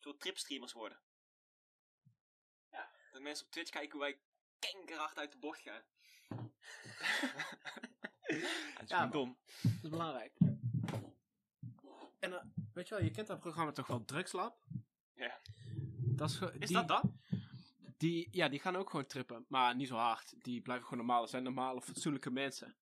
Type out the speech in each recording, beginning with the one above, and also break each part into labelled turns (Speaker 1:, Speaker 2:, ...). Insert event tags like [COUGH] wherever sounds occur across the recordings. Speaker 1: soort tripstreamers worden. Ja, dat mensen op Twitch kijken hoe wij kankerhard uit de bocht gaan.
Speaker 2: [LAUGHS] Dat is
Speaker 3: Ja,
Speaker 2: niet dom.
Speaker 3: Dat is belangrijk. En eh, weet je wel, je kent dat programma toch wel, Drugslab?
Speaker 1: Ja.
Speaker 3: Dat is, ge-
Speaker 1: Is
Speaker 3: die,
Speaker 1: dat dat?
Speaker 3: Die, ja, die gaan ook gewoon trippen. Maar niet zo hard. Die blijven gewoon normaal. Dat zijn normale, fatsoenlijke mensen.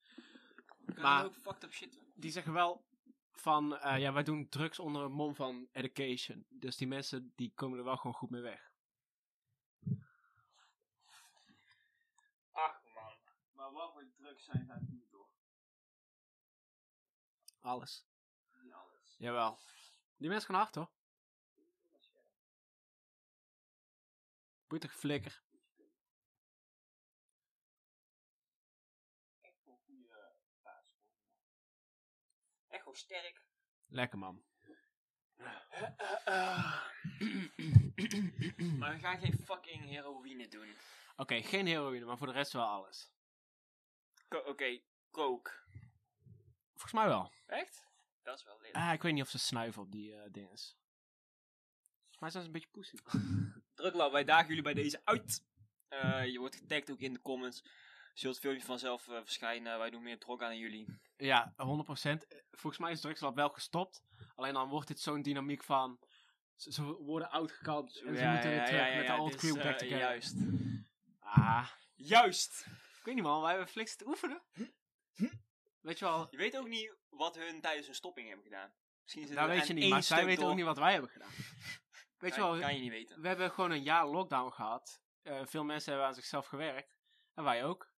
Speaker 1: Kan
Speaker 3: Maar-
Speaker 1: je ook fucked up shit doen?
Speaker 3: Die zeggen wel van, eh, ja, wij doen drugs onder een mom van education. Dus die mensen, die komen er wel gewoon goed mee weg.
Speaker 1: Ach man. Maar wat voor drugs zijn daar nu door?
Speaker 3: Alles.
Speaker 1: Niet alles.
Speaker 3: Jawel. Die mensen gaan hard, hoor. Boeit toch flikker.
Speaker 1: Echt wel eh, goede baas. Echt wel
Speaker 2: [COUGHS]
Speaker 1: sterk.
Speaker 3: Lekker, man.
Speaker 1: Maar we gaan geen fucking heroïne doen.
Speaker 3: Oké, geen heroïne, maar voor de rest wel alles.
Speaker 1: Ko- Oké, coke.
Speaker 3: Volgens mij wel.
Speaker 1: Echt? Dat is wel leuk.
Speaker 3: Ah, ik weet niet of ze snuiven op die eh dinges. Maar ze is een beetje poesie.
Speaker 1: Druklab, wij dagen jullie bij deze uit. Eh, je wordt getagd ook in de comments. Zult het filmpje vanzelf eh, verschijnen. Wij doen meer drog aan dan jullie.
Speaker 3: ja, 100%. Eh, Volgens mij is Drugslab wel gestopt. Alleen dan wordt dit zo'n dynamiek van... Ze, ze worden outgekald en ze moeten weer terug met de old
Speaker 1: dus,
Speaker 3: crew back
Speaker 1: eh,
Speaker 3: together.
Speaker 1: Juist.
Speaker 3: Ah,
Speaker 1: Juist!
Speaker 3: ik weet niet man, wij hebben flink te oefenen. Weet je wel,
Speaker 1: Je weet ook niet wat hun tijdens hun stopping hebben gedaan. Misschien zitten
Speaker 3: dat
Speaker 1: er
Speaker 3: weet
Speaker 1: aan
Speaker 3: je niet.
Speaker 1: één
Speaker 3: Maar zij
Speaker 1: stuk
Speaker 3: weten
Speaker 1: door.
Speaker 3: ook niet wat wij hebben gedaan. Weet je
Speaker 1: Kan-
Speaker 3: wel,
Speaker 1: Kan je niet weten.
Speaker 3: we hebben gewoon een jaar lockdown gehad. Eh, veel mensen hebben aan zichzelf gewerkt. En wij ook.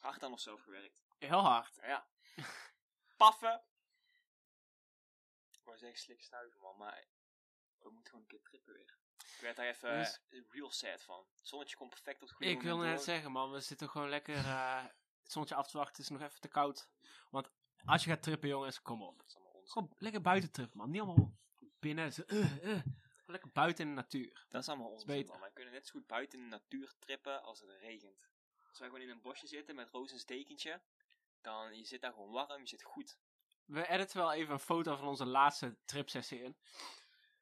Speaker 1: Hard aan onszelf gewerkt.
Speaker 3: Heel hard. [LAUGHS]
Speaker 1: Ja. Paffen. Ik wou zeggen slik snuiven man, maar we moeten gewoon een keer trippen weer. Ik werd daar even
Speaker 3: Dus-
Speaker 1: eh, real sad van. Het zonnetje komt perfect op het goede
Speaker 3: Ik wil
Speaker 1: moment
Speaker 3: net
Speaker 1: door.
Speaker 3: zeggen, man, we zitten gewoon lekker eh, het zonnetje af te wachten. Het is nog even te koud. Want als je gaat trippen, jongens, kom op.
Speaker 1: Dat is allemaal onzin.
Speaker 3: Gewoon lekker buiten trippen, man. Niet allemaal binnen. zo, eh, eh. Gewoon Lekker buiten in de natuur.
Speaker 1: Dat is allemaal
Speaker 3: is
Speaker 1: onzin
Speaker 3: beter.
Speaker 1: man. Wij kunnen net zo goed buiten in de natuur trippen als het regent. Als wij gewoon in een bosje zitten met Roosens dekentje, dan je zit daar gewoon warm, je zit goed.
Speaker 3: We editen wel even een foto van onze laatste tripsessie in.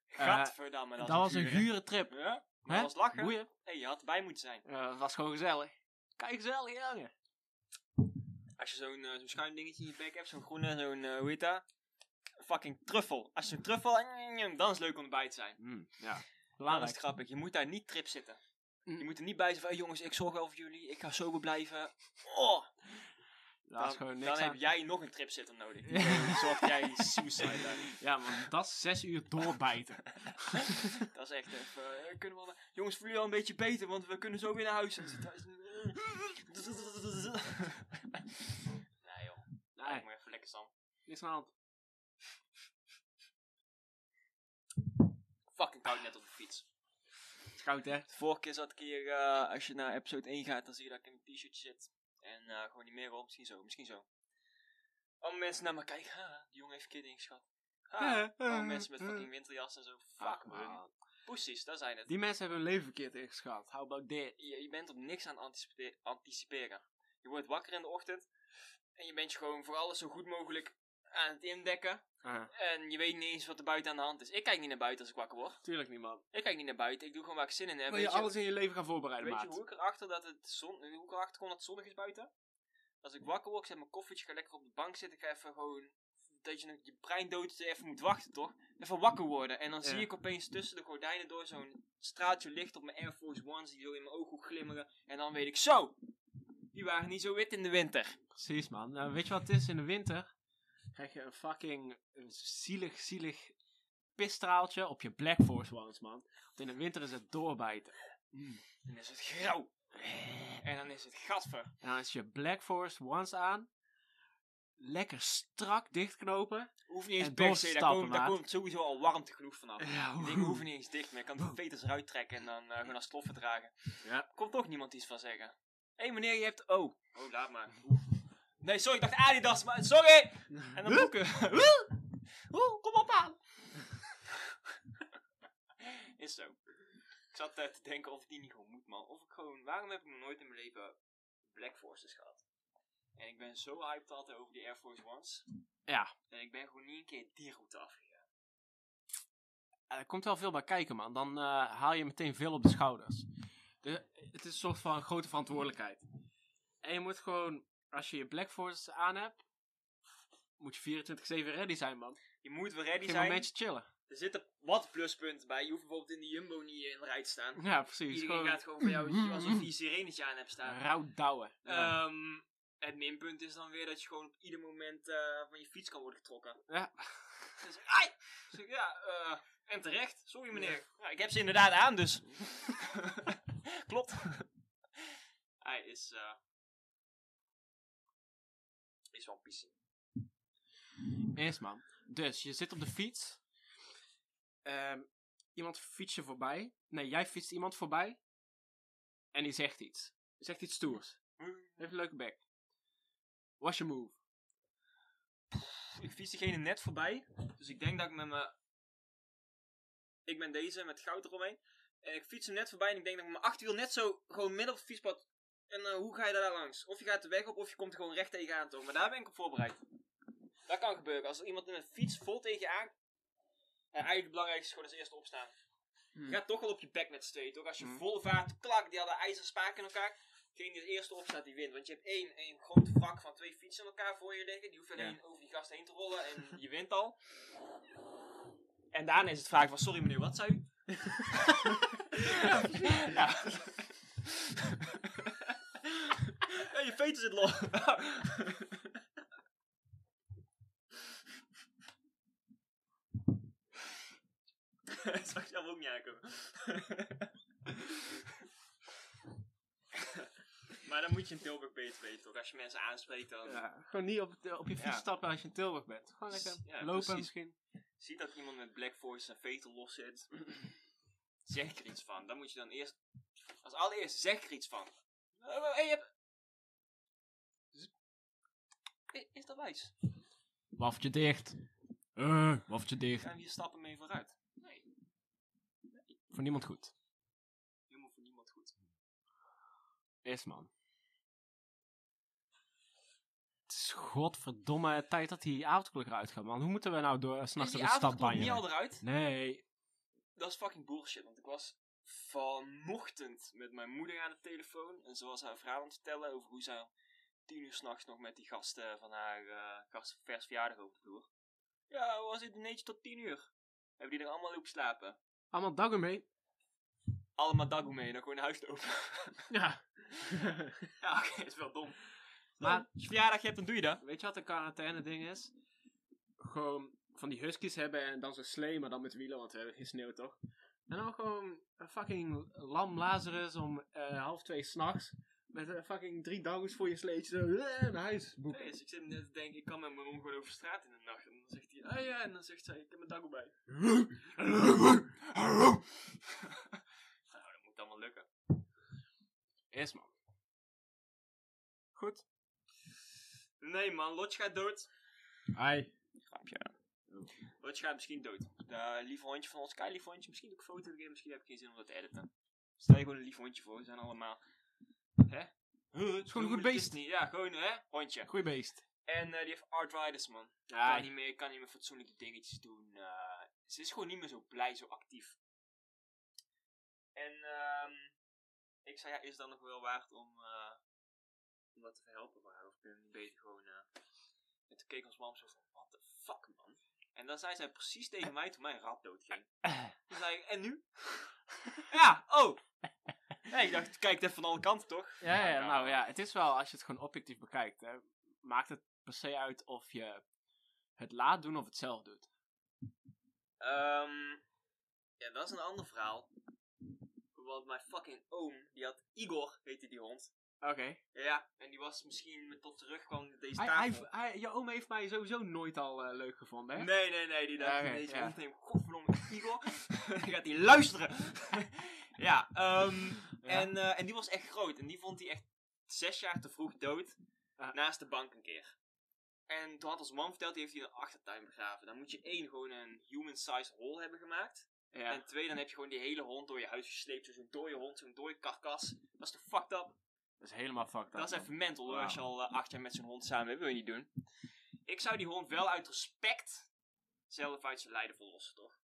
Speaker 3: Eh,
Speaker 1: Gadverdamme,
Speaker 3: dat
Speaker 1: dat,
Speaker 3: was
Speaker 1: is
Speaker 3: een
Speaker 1: hè?
Speaker 3: gure trip.
Speaker 1: Ja, maar
Speaker 3: Hè?
Speaker 1: dat was lachen.
Speaker 3: Boeien.
Speaker 1: hey, je had bij moeten zijn.
Speaker 3: Eh, het was gewoon gezellig. Kijk, gezellig, jongen.
Speaker 1: Als je zo'n eh, zo'n schuin dingetje in je bek hebt, zo'n groene, zo'n, eh, hoe heet dat? Fucking truffel. Als je een truffel, dan is het leuk om erbij te zijn.
Speaker 3: Mm, ja,
Speaker 1: Dan is het
Speaker 3: belangrijk.
Speaker 1: grappig. Je moet daar niet trip zitten.
Speaker 3: Mm.
Speaker 1: Je moet er niet bij zijn van, hey, jongens, ik zorg wel voor jullie, ik ga sober blijven. Oh,
Speaker 3: Daar is gewoon
Speaker 1: dan
Speaker 3: niks
Speaker 1: heb
Speaker 3: aan.
Speaker 1: jij nog een trip zitten
Speaker 3: [LAUGHS]
Speaker 1: nodig.
Speaker 3: Ja.
Speaker 1: Dan zorg jij suicide daar.
Speaker 3: [LAUGHS] Ja, man, dat is zes uur
Speaker 1: [LAUGHS]
Speaker 3: doorbijten.
Speaker 1: Dat is echt even. eh, kunnen we wel- jongens, voelen jullie al een beetje beter, want we kunnen zo weer naar huis. [LAUGHS] En ze thuis- nee joh, Nou,
Speaker 3: Nee,
Speaker 1: ik moet even lekker Sam.
Speaker 3: niks aan de hand.
Speaker 1: Fucking koud net op de fiets.
Speaker 3: Het is koud, hè?
Speaker 1: De vorige keer zat ik hier, eh, als je naar episode 1 gaat, dan zie je dat ik in mijn t-shirtje zit. En eh, gewoon niet meer op, misschien zo, misschien zo. Allemaal mensen naar me kijken, ha, die jongen heeft verkeerd ingeschat. Ha,
Speaker 3: Ja, Ah,
Speaker 1: allemaal
Speaker 3: eh,
Speaker 1: mensen met
Speaker 3: eh.
Speaker 1: fucking winterjas en zo,
Speaker 3: Fuck,
Speaker 1: fuck man. Poesies, daar zijn het.
Speaker 3: Die mensen hebben hun leven verkeerd ingeschat. How about that?
Speaker 1: je, je bent op niks aan anticipe- anticiperen. Je wordt wakker in de ochtend en je bent je gewoon voor alles zo goed mogelijk aan het indekken.
Speaker 3: Ah,
Speaker 1: En je weet niet eens wat er buiten aan de hand is. Ik kijk niet naar buiten als ik wakker word.
Speaker 3: Tuurlijk niet, man.
Speaker 1: Ik kijk niet naar buiten. Ik doe gewoon waar ik zin in heb.
Speaker 3: Wil je
Speaker 1: Weet je-
Speaker 3: alles in je leven gaan voorbereiden,
Speaker 1: Weet je
Speaker 3: maat?
Speaker 1: hoe ik erachter dat het zon, hoe ik erachter kom dat het zonnig is buiten? Als
Speaker 3: Hm.
Speaker 1: ik wakker word, ik zet mijn koffietje, ga lekker op de bank zitten, ik ga even gewoon dat je nog je brein dood is, even moet wachten toch? Even wakker worden en dan
Speaker 3: Ja.
Speaker 1: zie ik opeens tussen de gordijnen door zo'n straaltje licht op mijn Air Force Ones die zo in mijn ooghoek glimmeren en dan weet ik zo. Die waren niet zo wit in de winter.
Speaker 3: Precies, man. Nou, weet je wat het is? In de winter krijg je een fucking een zielig, zielig pisstraaltje op je Black Force Ones, man. Want in de winter is het doorbijten.
Speaker 1: Dan is het grauw. En dan is het gatver.
Speaker 3: En dan is je Black Force Ones aan. Lekker strak dichtknopen.
Speaker 1: Hoeft niet eens
Speaker 3: En
Speaker 1: per se, daar
Speaker 3: doorstappen,
Speaker 1: komt, daar
Speaker 3: maat.
Speaker 1: komt sowieso al warmte genoeg vanaf.
Speaker 3: [LAUGHS] Ja,
Speaker 1: Die dingen hoeven niet eens dicht meer.
Speaker 3: [LAUGHS]
Speaker 1: Ik kan de veters eruit trekken en dan eh, gewoon als stoffen dragen.
Speaker 3: Ja.
Speaker 1: Komt toch niemand iets van zeggen. Hé meneer, je hebt... Oh. Oh, laat maar. [LAUGHS] Nee, sorry, ik dacht Adidas, maar sorry!
Speaker 3: [LAUGHS]
Speaker 1: En dan boeken. Oeh, kom op aan! [LAUGHS] Is zo. Ik zat eh, te denken of ik die niet gewoon moet, man. Of ik gewoon... Waarom heb ik nog nooit in mijn leven Black Forces gehad? En ik ben zo hyped altijd over die Air Force Ones.
Speaker 3: Ja.
Speaker 1: En ik ben gewoon niet een keer die route afgegaan.
Speaker 3: er komt wel veel bij kijken, man. Dan eh, haal je meteen veel op de schouders. De, het is een soort van grote verantwoordelijkheid. En je moet gewoon, als je je Black Force aan hebt, moet je 24-7 ready zijn, man.
Speaker 1: Je moet wel ready
Speaker 3: Geen
Speaker 1: zijn.
Speaker 3: momentje chillen.
Speaker 1: Er zitten wat pluspunten bij. Je hoeft bijvoorbeeld in de Jumbo niet in de rij te staan.
Speaker 3: Ja, precies.
Speaker 1: Iedereen
Speaker 3: Gewoon
Speaker 1: gaat eh, gewoon voor jou, weet je, alsof je een sirenetje aan hebt staan.
Speaker 3: rauw douwen. Ja.
Speaker 1: Ehm, het minpunt is dan weer dat je gewoon op ieder moment eh, van je fiets kan worden getrokken.
Speaker 3: Ja.
Speaker 1: Dus, ai! Ik zeg, ja, eh, en terecht. Sorry meneer. Ja, ik heb ze inderdaad aan, dus. [LAUGHS] Klopt. Hij is. eh is wel pissing.
Speaker 3: Eens, man. Dus, je zit op de fiets. Ehm, iemand fietst je voorbij. Nee, jij fietst iemand voorbij. En die zegt iets. Die zegt iets stoers. Heeft een leuke bek. What's your [LAUGHS] move?
Speaker 1: Ik fiets diegene net voorbij. Dus ik denk dat ik met mijn. Ik ben deze met goud eromheen. En ik fiets hem net voorbij en ik denk dat ik met mijn achterwiel net zo gewoon midden op het fietspad. En eh, hoe ga je daar langs? Of je gaat de weg op of je komt er gewoon recht tegenaan toch. Maar daar ben ik op voorbereid. Dat kan gebeuren. Als er iemand in een fiets vol tegen je aan. En eigenlijk het belangrijkste is gewoon als eerste opstaan. Je gaat toch wel op je bek met z'n tweeën, toch? Als je
Speaker 3: Hmm.
Speaker 1: volle vaart, klak, die hadden ijzeren spaken in elkaar. Degene die als eerste opstaat, die wint. Want je hebt één, één groot wrak van twee fietsen in elkaar voor je liggen. Die hoef je alleen over die gast heen te rollen en je wint al. En daarna is het vraag van, sorry meneer, wat zei u? [LAUGHS]
Speaker 3: [LAUGHS]
Speaker 1: ja. [LAUGHS] hey, je veter zit los. Dat zou ik zelf ook niet aankomen. [LAUGHS] maar dan moet je in Tilburg beter weten, toch? Als je mensen aanspreekt, dan
Speaker 3: Gewoon niet op, de- op je fiets
Speaker 1: Ja.
Speaker 3: stappen als je in Tilburg bent. Gewoon lekker
Speaker 1: Ja,
Speaker 3: lopen
Speaker 1: precies.
Speaker 3: misschien.
Speaker 1: ziet dat iemand met Black Force zijn veter los zit. [CLEARS THROAT] zeg ik er iets van. Dan moet je dan eerst... Als allereerst zeg ik er iets van. Hé, je hebt... Is- Is dat wijs?
Speaker 3: Waffeltje dicht. Eh, waffeltje dicht.
Speaker 1: Gaan we hier stappen mee vooruit? Nee,
Speaker 3: Voor niemand goed.
Speaker 1: helemaal voor niemand goed.
Speaker 3: Is man. Het is godverdomme tijd dat die avondklok eruit gaat, man. Hoe moeten we nou door s'nachts
Speaker 1: Is
Speaker 3: naar
Speaker 1: die
Speaker 3: de stad
Speaker 1: avond komt niet al
Speaker 3: banjeren?
Speaker 1: eruit?
Speaker 3: Nee,
Speaker 1: dat is fucking bullshit. Want ik was vanochtend met mijn moeder aan de telefoon. En ze was haar verhaal aan het vertellen over hoe zij om tien uur s'nachts nog met die gasten van haar eh gastvers verjaardag over de vloer. Ja, hoe was dit dineetje tot tien uur? Hebben die er allemaal op slapen?
Speaker 3: Allemaal daggen mee.
Speaker 1: Allemaal dagoe mee, dan gewoon naar huis lopen. [LAUGHS]
Speaker 3: [LAUGHS] Ja.
Speaker 1: ja, oké, is wel dom.
Speaker 3: Maar-
Speaker 1: Maar als je verjaardag hebt, dan doe je dat.
Speaker 3: Weet je wat een quarantaine ding is? Gewoon van die huskies hebben en dan zo'n slee, maar dan met wielen, want we hebben geen sneeuw toch? En dan gewoon een fucking lam Lazarus om eh, half twee s'nachts. Met eh, fucking drie daggers voor je sleetje. Zo, eh, naar huis. Boek.
Speaker 1: Nee, dus ik zit net te denken, ik kan met mijn oom gewoon over straat in de nacht. En dan zegt hij, ah ja, en dan zegt zij, ik heb mijn dagoe bij. [LAUGHS] nou, dat moet allemaal lukken.
Speaker 3: Eerst man. Goed.
Speaker 1: Nee man, Lodge gaat dood.
Speaker 3: Hi.
Speaker 1: Grapje. Lodge gaat misschien dood. De lieve hondje van ons, kei lieve hondje. Misschien doe ik een foto erin, misschien heb ik geen zin om dat te editen. Stel je gewoon een lief hondje voor, we zijn allemaal... Hè? Het
Speaker 3: goed beest.
Speaker 1: Niet. Ja, gewoon hè, hondje.
Speaker 3: Goeie beest.
Speaker 1: En eh, die heeft arthritis man.
Speaker 3: Ja,
Speaker 1: kan, niet meer, kan niet meer fatsoenlijke dingetjes doen. eh, ze is gewoon niet meer zo blij, zo actief. En ehm, ik zei, ja, is het dan nog wel waard om, eh, om dat te helpen? Maar of kunnen we niet beter gewoon... eh, en toen keek ons mam zo van, what the fuck man? En dan zei zij precies tegen mij toen mijn rat doodging. Toen zei ik, en nu? ja, oh! Nee, ik dacht, kijk het even van alle kanten toch?
Speaker 3: Ja, ja,
Speaker 1: Maar,
Speaker 3: nou ja, het is wel, als je het gewoon objectief bekijkt, hè, maakt het per se uit of je het laat doen of het zelf doet.
Speaker 1: Ehm ja, dat is een ander verhaal. Want mijn fucking oom, die had Igor, heette die hond.
Speaker 3: Oké.
Speaker 1: Ja, en die was misschien met tot terug kwam met deze
Speaker 3: Hij,
Speaker 1: tafel.
Speaker 3: hij, hij- je oom heeft mij sowieso nooit al eh, leuk gevonden, hè?
Speaker 1: Nee, nee, nee, die dacht,
Speaker 3: Oké,
Speaker 1: deze
Speaker 3: ja.
Speaker 1: hond neemt godverdomme Igor. die gaat die luisteren. ja, ehm
Speaker 3: Ja.
Speaker 1: En, eh, en die was echt groot. En die vond hij echt zes jaar te vroeg dood.
Speaker 3: Ah.
Speaker 1: Naast de bank een keer. En toen had ons man verteld, die heeft hij in een achtertuin begraven. Dan moet je één, gewoon een human-sized hole hebben gemaakt.
Speaker 3: ja.
Speaker 1: En twee, dan heb je gewoon die hele hond door je huis gesleept. Zo'n dode hond, zo'n dode karkas. Dat is toch fucked up?
Speaker 3: dat is helemaal fucked up.
Speaker 1: Dat is
Speaker 3: man.
Speaker 1: even mental hoor,
Speaker 3: Wauw.
Speaker 1: als je al eh, acht jaar met zo'n hond samen bent. Wil je niet doen. Ik zou die hond wel uit respect zelf uit zijn lijden verlossen, toch?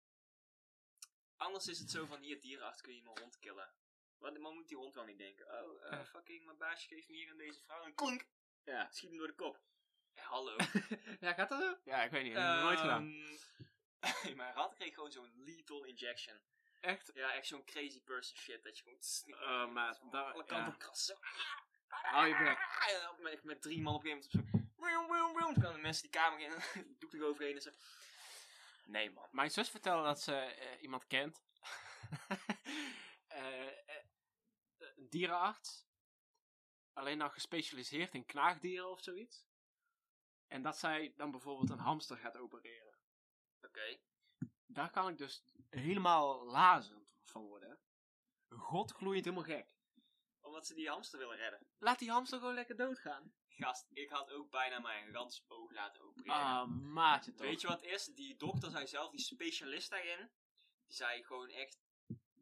Speaker 1: Anders is het zo van hier, dierenarts, kun je mijn hond killen. Want man moet die hond wel niet denken. Oh, eh,
Speaker 3: Ja.
Speaker 1: fucking, mijn baasje geeft me hier aan deze vrouw een klink.
Speaker 3: Ja.
Speaker 1: Schiet hem door de kop. Ehm, Ja, hallo.
Speaker 3: ja, gaat dat zo? Ja, ik weet niet. Ik heb het nooit gedaan.
Speaker 1: [LAUGHS] Ehm, mijn rat kreeg gewoon zo'n lethal injection.
Speaker 3: Echt?
Speaker 1: Ja, echt zo'n crazy person shit. Dat je gewoon...
Speaker 3: Oh, maat,
Speaker 1: Van
Speaker 3: daar-
Speaker 1: alle kanten
Speaker 3: ja.
Speaker 1: op krassen. Zo, ah,
Speaker 3: Hou je bek.
Speaker 1: En dan ben ik met drie man op een gegeven moment op zo'n... Wium, wium, wium. Toen gaan de mensen [LAUGHS] die kamer in en doek eroverheen en zo... Nee, man.
Speaker 3: Mijn zus vertelde dat ze eh, iemand kent. [LAUGHS] Eh, eh, een dierenarts. Alleen dan gespecialiseerd in knaagdieren of zoiets. En dat zij dan bijvoorbeeld een hamster gaat opereren.
Speaker 1: Oké.
Speaker 3: Daar kan ik dus helemaal lazend van worden. God gloeit helemaal gek.
Speaker 1: Omdat ze die hamster willen redden.
Speaker 3: Laat die hamster gewoon lekker doodgaan.
Speaker 1: Gast, ik had ook bijna mijn ransoog laten opereren.
Speaker 3: Ah, maatje toch.
Speaker 1: Weet je wat het is? Die dokter zei zelf, die specialist daarin, die zei gewoon echt,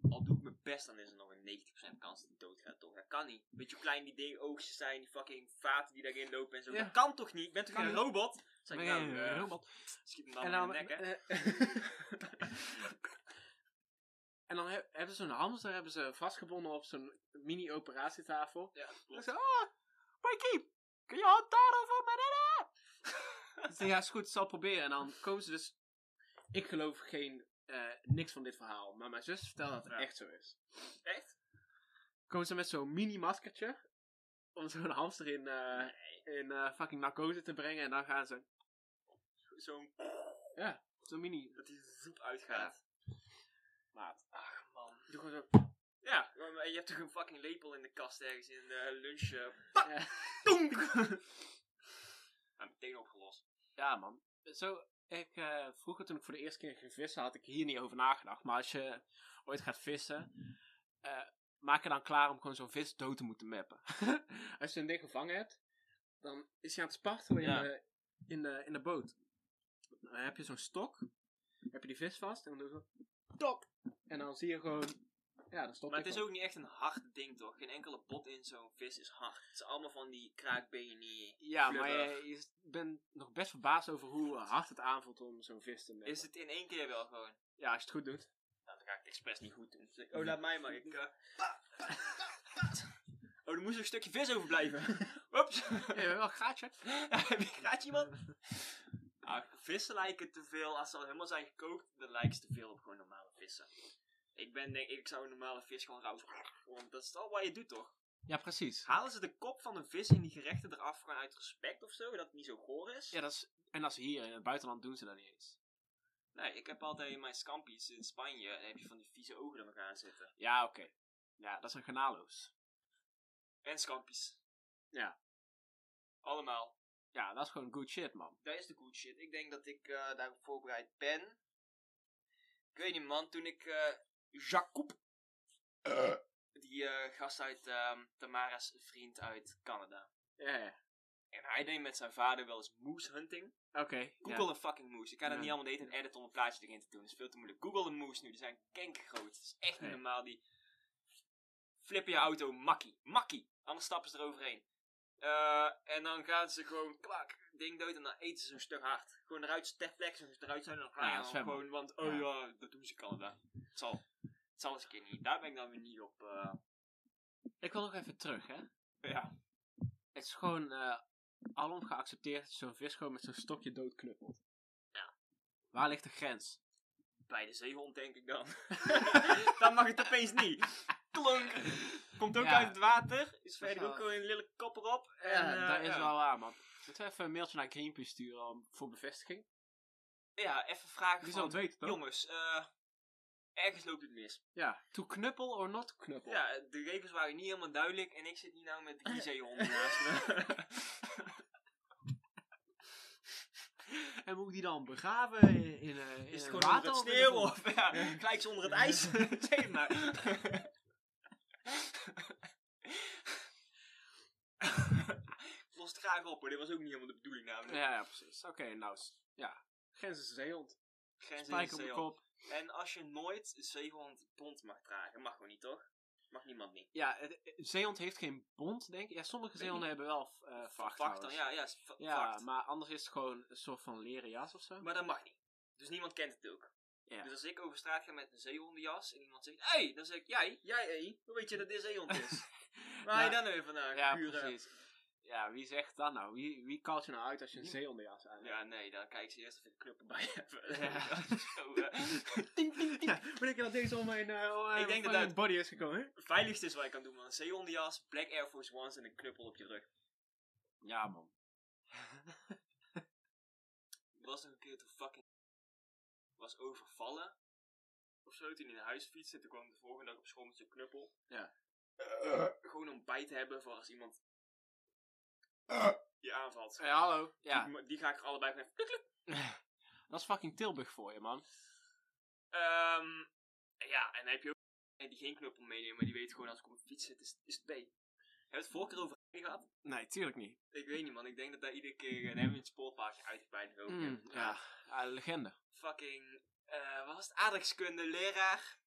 Speaker 1: al doe ik mijn best, dan is er nog een 90% kans dat hij doodgaat, toch? Dat kan niet. Weet je hoe klein die ding oogjes zijn, die fucking vaten die daarin lopen en zo.
Speaker 3: Ja.
Speaker 1: Dat kan toch niet? Ik ben toch
Speaker 3: Kan
Speaker 1: geen
Speaker 3: niet.
Speaker 1: robot? Zeg ik
Speaker 3: Ben
Speaker 1: nou,
Speaker 3: je
Speaker 1: eh,
Speaker 3: een robot.
Speaker 1: schiet hem dan, in de nek, hè?
Speaker 3: [LAUGHS] en dan he- hebben ze een hamster hebben ze vastgebonden op zo'n mini-operatietafel.
Speaker 1: ja,
Speaker 3: En ik
Speaker 1: klopt.
Speaker 3: zei, ah, Mikey, kun je hand daarover beneden? [LAUGHS] Ik zei, ja, is goed, ik zal het proberen. En dan komen ze dus, ik geloof geen, eh, niks van dit verhaal, maar mijn zus vertelde dat het
Speaker 1: Ja.
Speaker 3: echt zo is.
Speaker 1: Echt?
Speaker 3: Komen ze met zo'n mini-maskertje om zo'n hamster in, eh, in eh, fucking narcose te brengen en dan gaan ze
Speaker 1: Zo'n,
Speaker 3: zo'n mini...
Speaker 1: dat hij zoep uitgaat.
Speaker 3: Maat.
Speaker 1: Ach, man.
Speaker 3: Doe gewoon zo...
Speaker 1: Ja, maar je hebt toch een fucking lepel in de kast ergens in de lunch. eh,
Speaker 3: eh, [LAUGHS]
Speaker 1: Donk! meteen opgelost.
Speaker 3: Ja, man. Zo, ik, eh, vroeger toen ik voor de eerste keer ging vissen, had ik hier niet over nagedacht. Maar als je ooit gaat vissen, eh, maak je dan klaar om gewoon zo'n vis dood te moeten mappen. [LAUGHS] als je een ding gevangen hebt, dan is hij aan het spartelen in,
Speaker 1: Ja.
Speaker 3: de, in, de, in de boot. Dan heb je zo'n stok, heb je die vis vast en dan doe je zo, top! En dan zie je gewoon, ja, dan stopt
Speaker 1: Maar het
Speaker 3: hij
Speaker 1: is
Speaker 3: gewoon.
Speaker 1: ook niet echt een hard ding toch? Geen enkele bot in zo'n vis is hard. Het is allemaal van die kraakbenen.
Speaker 3: Ja, maar
Speaker 1: flubber.
Speaker 3: je, je bent nog best verbaasd over hoe hard het aanvoelt om zo'n vis te mappen.
Speaker 1: Is het in één keer wel gewoon?
Speaker 3: Ja, als je het goed doet.
Speaker 1: Nou, dan ga ik het expres niet goed doen. Dus ik- Oh, laat mij maar. Ik, eh, [LAUGHS] Oh, er moest nog een stukje vis [LAUGHS] overblijven. Oeps.
Speaker 3: Ja, wel een gaatje.
Speaker 1: Heb je graag iemand? Ah, vissen lijken te veel, als ze al helemaal zijn gekookt, dan lijken ze te veel op gewoon normale vissen. Ik ben denk ik zou een normale vis gewoon rauw. Want dat is al wat je doet toch?
Speaker 3: Ja, precies.
Speaker 1: Halen ze de kop van een vis in die gerechten eraf gewoon uit respect of zo? Dat het niet zo goor is?
Speaker 3: Ja, dat is, en dat is hier. In het buitenland doen ze dat niet eens.
Speaker 1: Nee, ik heb altijd in mijn scampi's in Spanje, dan heb je van die vieze ogen aan elkaar zitten.
Speaker 3: Ja, oké. Ja, dat zijn garnalo's.
Speaker 1: En scampi's.
Speaker 3: Ja.
Speaker 1: Allemaal.
Speaker 3: Ja, dat is gewoon good shit, man.
Speaker 1: Dat is de good shit. Ik denk dat ik eh, daarop voorbereid ben. Ik weet niet man, toen ik eh Jacob, die eh, gast uit ehm, Tamara's vriend uit Canada.
Speaker 3: Ja, ja.
Speaker 1: En hij deed met zijn vader wel eens moose hunting.
Speaker 3: Oké.
Speaker 1: Google een fucking moose. Ik kan dat
Speaker 3: Ja.
Speaker 1: niet allemaal eten en edit om een plaatje erin te doen. Dat is veel te moeilijk. Google een moose nu. Die zijn kankergroot. Dat is echt niet
Speaker 3: Nee.
Speaker 1: normaal. Die flippen je auto makkie. Makkie. Anders stappen ze eroverheen. Eh, en dan gaan ze gewoon klak, ding dood en dan eten ze zo'n stuk hard. Gewoon eruit, ter plekke, als ze eruit zijn en dan gaan
Speaker 3: Ja,
Speaker 1: ze dan
Speaker 3: zwemmen.
Speaker 1: gewoon, want oh ja, dat doen ze in Canada. Het zal, het zal eens een keer niet. Daar ben ik dan weer niet op, eh,
Speaker 3: Ja. Ik wil nog even terug, hè.
Speaker 1: ja.
Speaker 3: Het is gewoon eh alom geaccepteerd dat je zo'n vis gewoon met zo'n stokje doodknuppelt.
Speaker 1: Ja.
Speaker 3: Waar ligt de grens?
Speaker 1: Bij de zeehond denk ik [LAUGHS] dan. dan mag het opeens niet. Klonk. Komt ook
Speaker 3: Ja.
Speaker 1: uit het water. Is verder
Speaker 3: wel-
Speaker 1: ook gewoon een lille kop erop. En,
Speaker 3: Ja,
Speaker 1: eh,
Speaker 3: dat is
Speaker 1: ja.
Speaker 3: wel waar, man. Moeten we even een mailtje naar Greenpeace sturen om, voor bevestiging?
Speaker 1: Ja, even vragen van...
Speaker 3: Die zal het weten, toch?
Speaker 1: jongens, eh, ergens loopt het mis.
Speaker 3: Ja. To knuppel or not to knuppel?
Speaker 1: Ja, de regels waren niet helemaal duidelijk. En ik zit hier nou met [LAUGHS] drie zeehonden naast me.
Speaker 3: En moet ik die dan begraven in, in, eh, in
Speaker 1: Is het
Speaker 3: een
Speaker 1: gewoon
Speaker 3: water
Speaker 1: onder het
Speaker 3: of in de
Speaker 1: sneeuw
Speaker 3: grond?
Speaker 1: of ja, gelijk ze onder het [LAUGHS] ijs? zeg het maar. Ik Los het graag op hoor, dit was ook niet helemaal de bedoeling namelijk.
Speaker 3: Ja, ja, precies. Oké, nou, s- ja. Grens is een zeehond.
Speaker 1: Geen zin in
Speaker 3: Spijker op de
Speaker 1: zeehond.
Speaker 3: kop.
Speaker 1: En als je nooit zeehond bont mag dragen, mag gewoon niet toch? Mag niemand niet.
Speaker 3: Ja, het- het- zeehond heeft geen bond, denk ik. Ja, sommige
Speaker 1: Weet
Speaker 3: zeehonden hebben wel eh vacht.
Speaker 1: Vacht dan,
Speaker 3: trouwens.
Speaker 1: ja, ja, is va-
Speaker 3: Ja,
Speaker 1: vacht.
Speaker 3: maar anders is het gewoon een soort van leren jas of zo.
Speaker 1: Maar dat mag niet. Dus niemand kent het ook.
Speaker 3: Ja.
Speaker 1: Dus als ik over straat ga met een zeehondenjas en iemand zegt, hé, hey, dan zeg ik, jij, jij, hé, hoe weet je dat dit zeehond is?
Speaker 3: [LAUGHS]
Speaker 1: Waar je
Speaker 3: Ja.
Speaker 1: dan weer vandaan?
Speaker 3: Ja,
Speaker 1: Pure-
Speaker 3: precies. Ja, wie zegt dat nou? Wie, wie kalt je nou uit als je een zeehondenjas aan hebt? [LAUGHS]
Speaker 1: Ja, nee, dan kijk ze eerst of ik de club [LAUGHS] erbij heb.
Speaker 3: Ja.
Speaker 1: [LAUGHS] Zo, eh,
Speaker 3: Ting, ting, ting. Weet ik dat deze om mijn, eh, om
Speaker 1: Ik denk
Speaker 3: mijn
Speaker 1: dat dat-
Speaker 3: body is gekomen. hè?
Speaker 1: het veiligste is wat je kan doen, man. Een zeehondenjas, Black Air Force Ones en een knuppel op je rug.
Speaker 3: Ja, man.
Speaker 1: Er was nog een keer toen fucking was overvallen. Of zo, toen hij naar huis fietste. Toen kwam de volgende dag op school met zo'n knuppel.
Speaker 3: Ja.
Speaker 1: Eh, gewoon om bij te hebben voor als iemand je aanvalt.
Speaker 3: Hey, hallo. Eh, Ja.
Speaker 1: Die, die ga ik er allebei van even-
Speaker 3: [LAUGHS] dat is fucking Tilburg voor je, man.
Speaker 1: Ehm, ja, en dan heb je ook en die geen knuppel meenemen, maar die weet gewoon als ik op mijn fiets zit, is, is het B. Hebben we het vorige keer over gehad?
Speaker 3: Nee, tuurlijk niet.
Speaker 1: Ik weet niet, man. Ik denk dat daar iedere keer. eh, Daar hebben we het spoorpaardje uitgebreid over.
Speaker 3: Mm,
Speaker 1: gepraat.
Speaker 3: ja, Ah, legende.
Speaker 1: fucking, eh wat was het, aardrijkskunde leraar.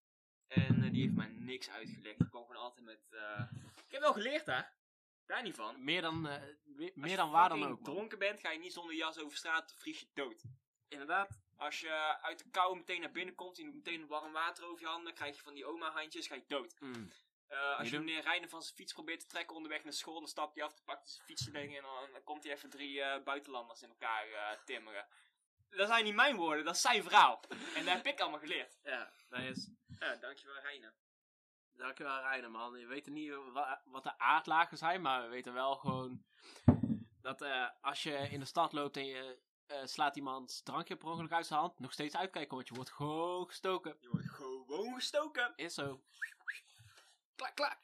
Speaker 1: En eh, die heeft mij niks uitgelegd. Ik kwam gewoon altijd met, eh, ik heb wel geleerd hè, daar niet van. Als
Speaker 3: Meer dan, eh, we-
Speaker 1: je
Speaker 3: meer dan waar dan
Speaker 1: fucking
Speaker 3: ook, man.
Speaker 1: dronken bent, ga je niet zonder jas over straat, dan vries je dood.
Speaker 3: Inderdaad.
Speaker 1: Als je uit de kou meteen naar binnen komt, je doet meteen warm water over je handen, dan krijg je van die oma handjes, ga je dood.
Speaker 3: Mm.
Speaker 1: Eh, als
Speaker 3: Je
Speaker 1: je
Speaker 3: doet-
Speaker 1: meneer Reiner van zijn fiets probeert te trekken onderweg naar school, dan stapt hij af, dan pakt hij zijn fietsje en dan, dan komt hij even drie eh, buitenlanders in elkaar eh, timmeren. Dat zijn niet mijn woorden, dat is zijn verhaal. En dat heb ik allemaal geleerd.
Speaker 3: [LAUGHS] Ja, dat is...
Speaker 1: Ja, Ah, dankjewel Reiner.
Speaker 3: Dankjewel, Reiner, man. We weten niet wa- wat de aardlagen zijn, maar we weten wel gewoon... Dat eh, als je in de stad loopt en je eh, slaat iemands drankje per ongeluk uit zijn hand... Nog steeds uitkijken, want je wordt gewoon gestoken.
Speaker 1: Je wordt gewoon gestoken.
Speaker 3: Is zo. Klak, klak.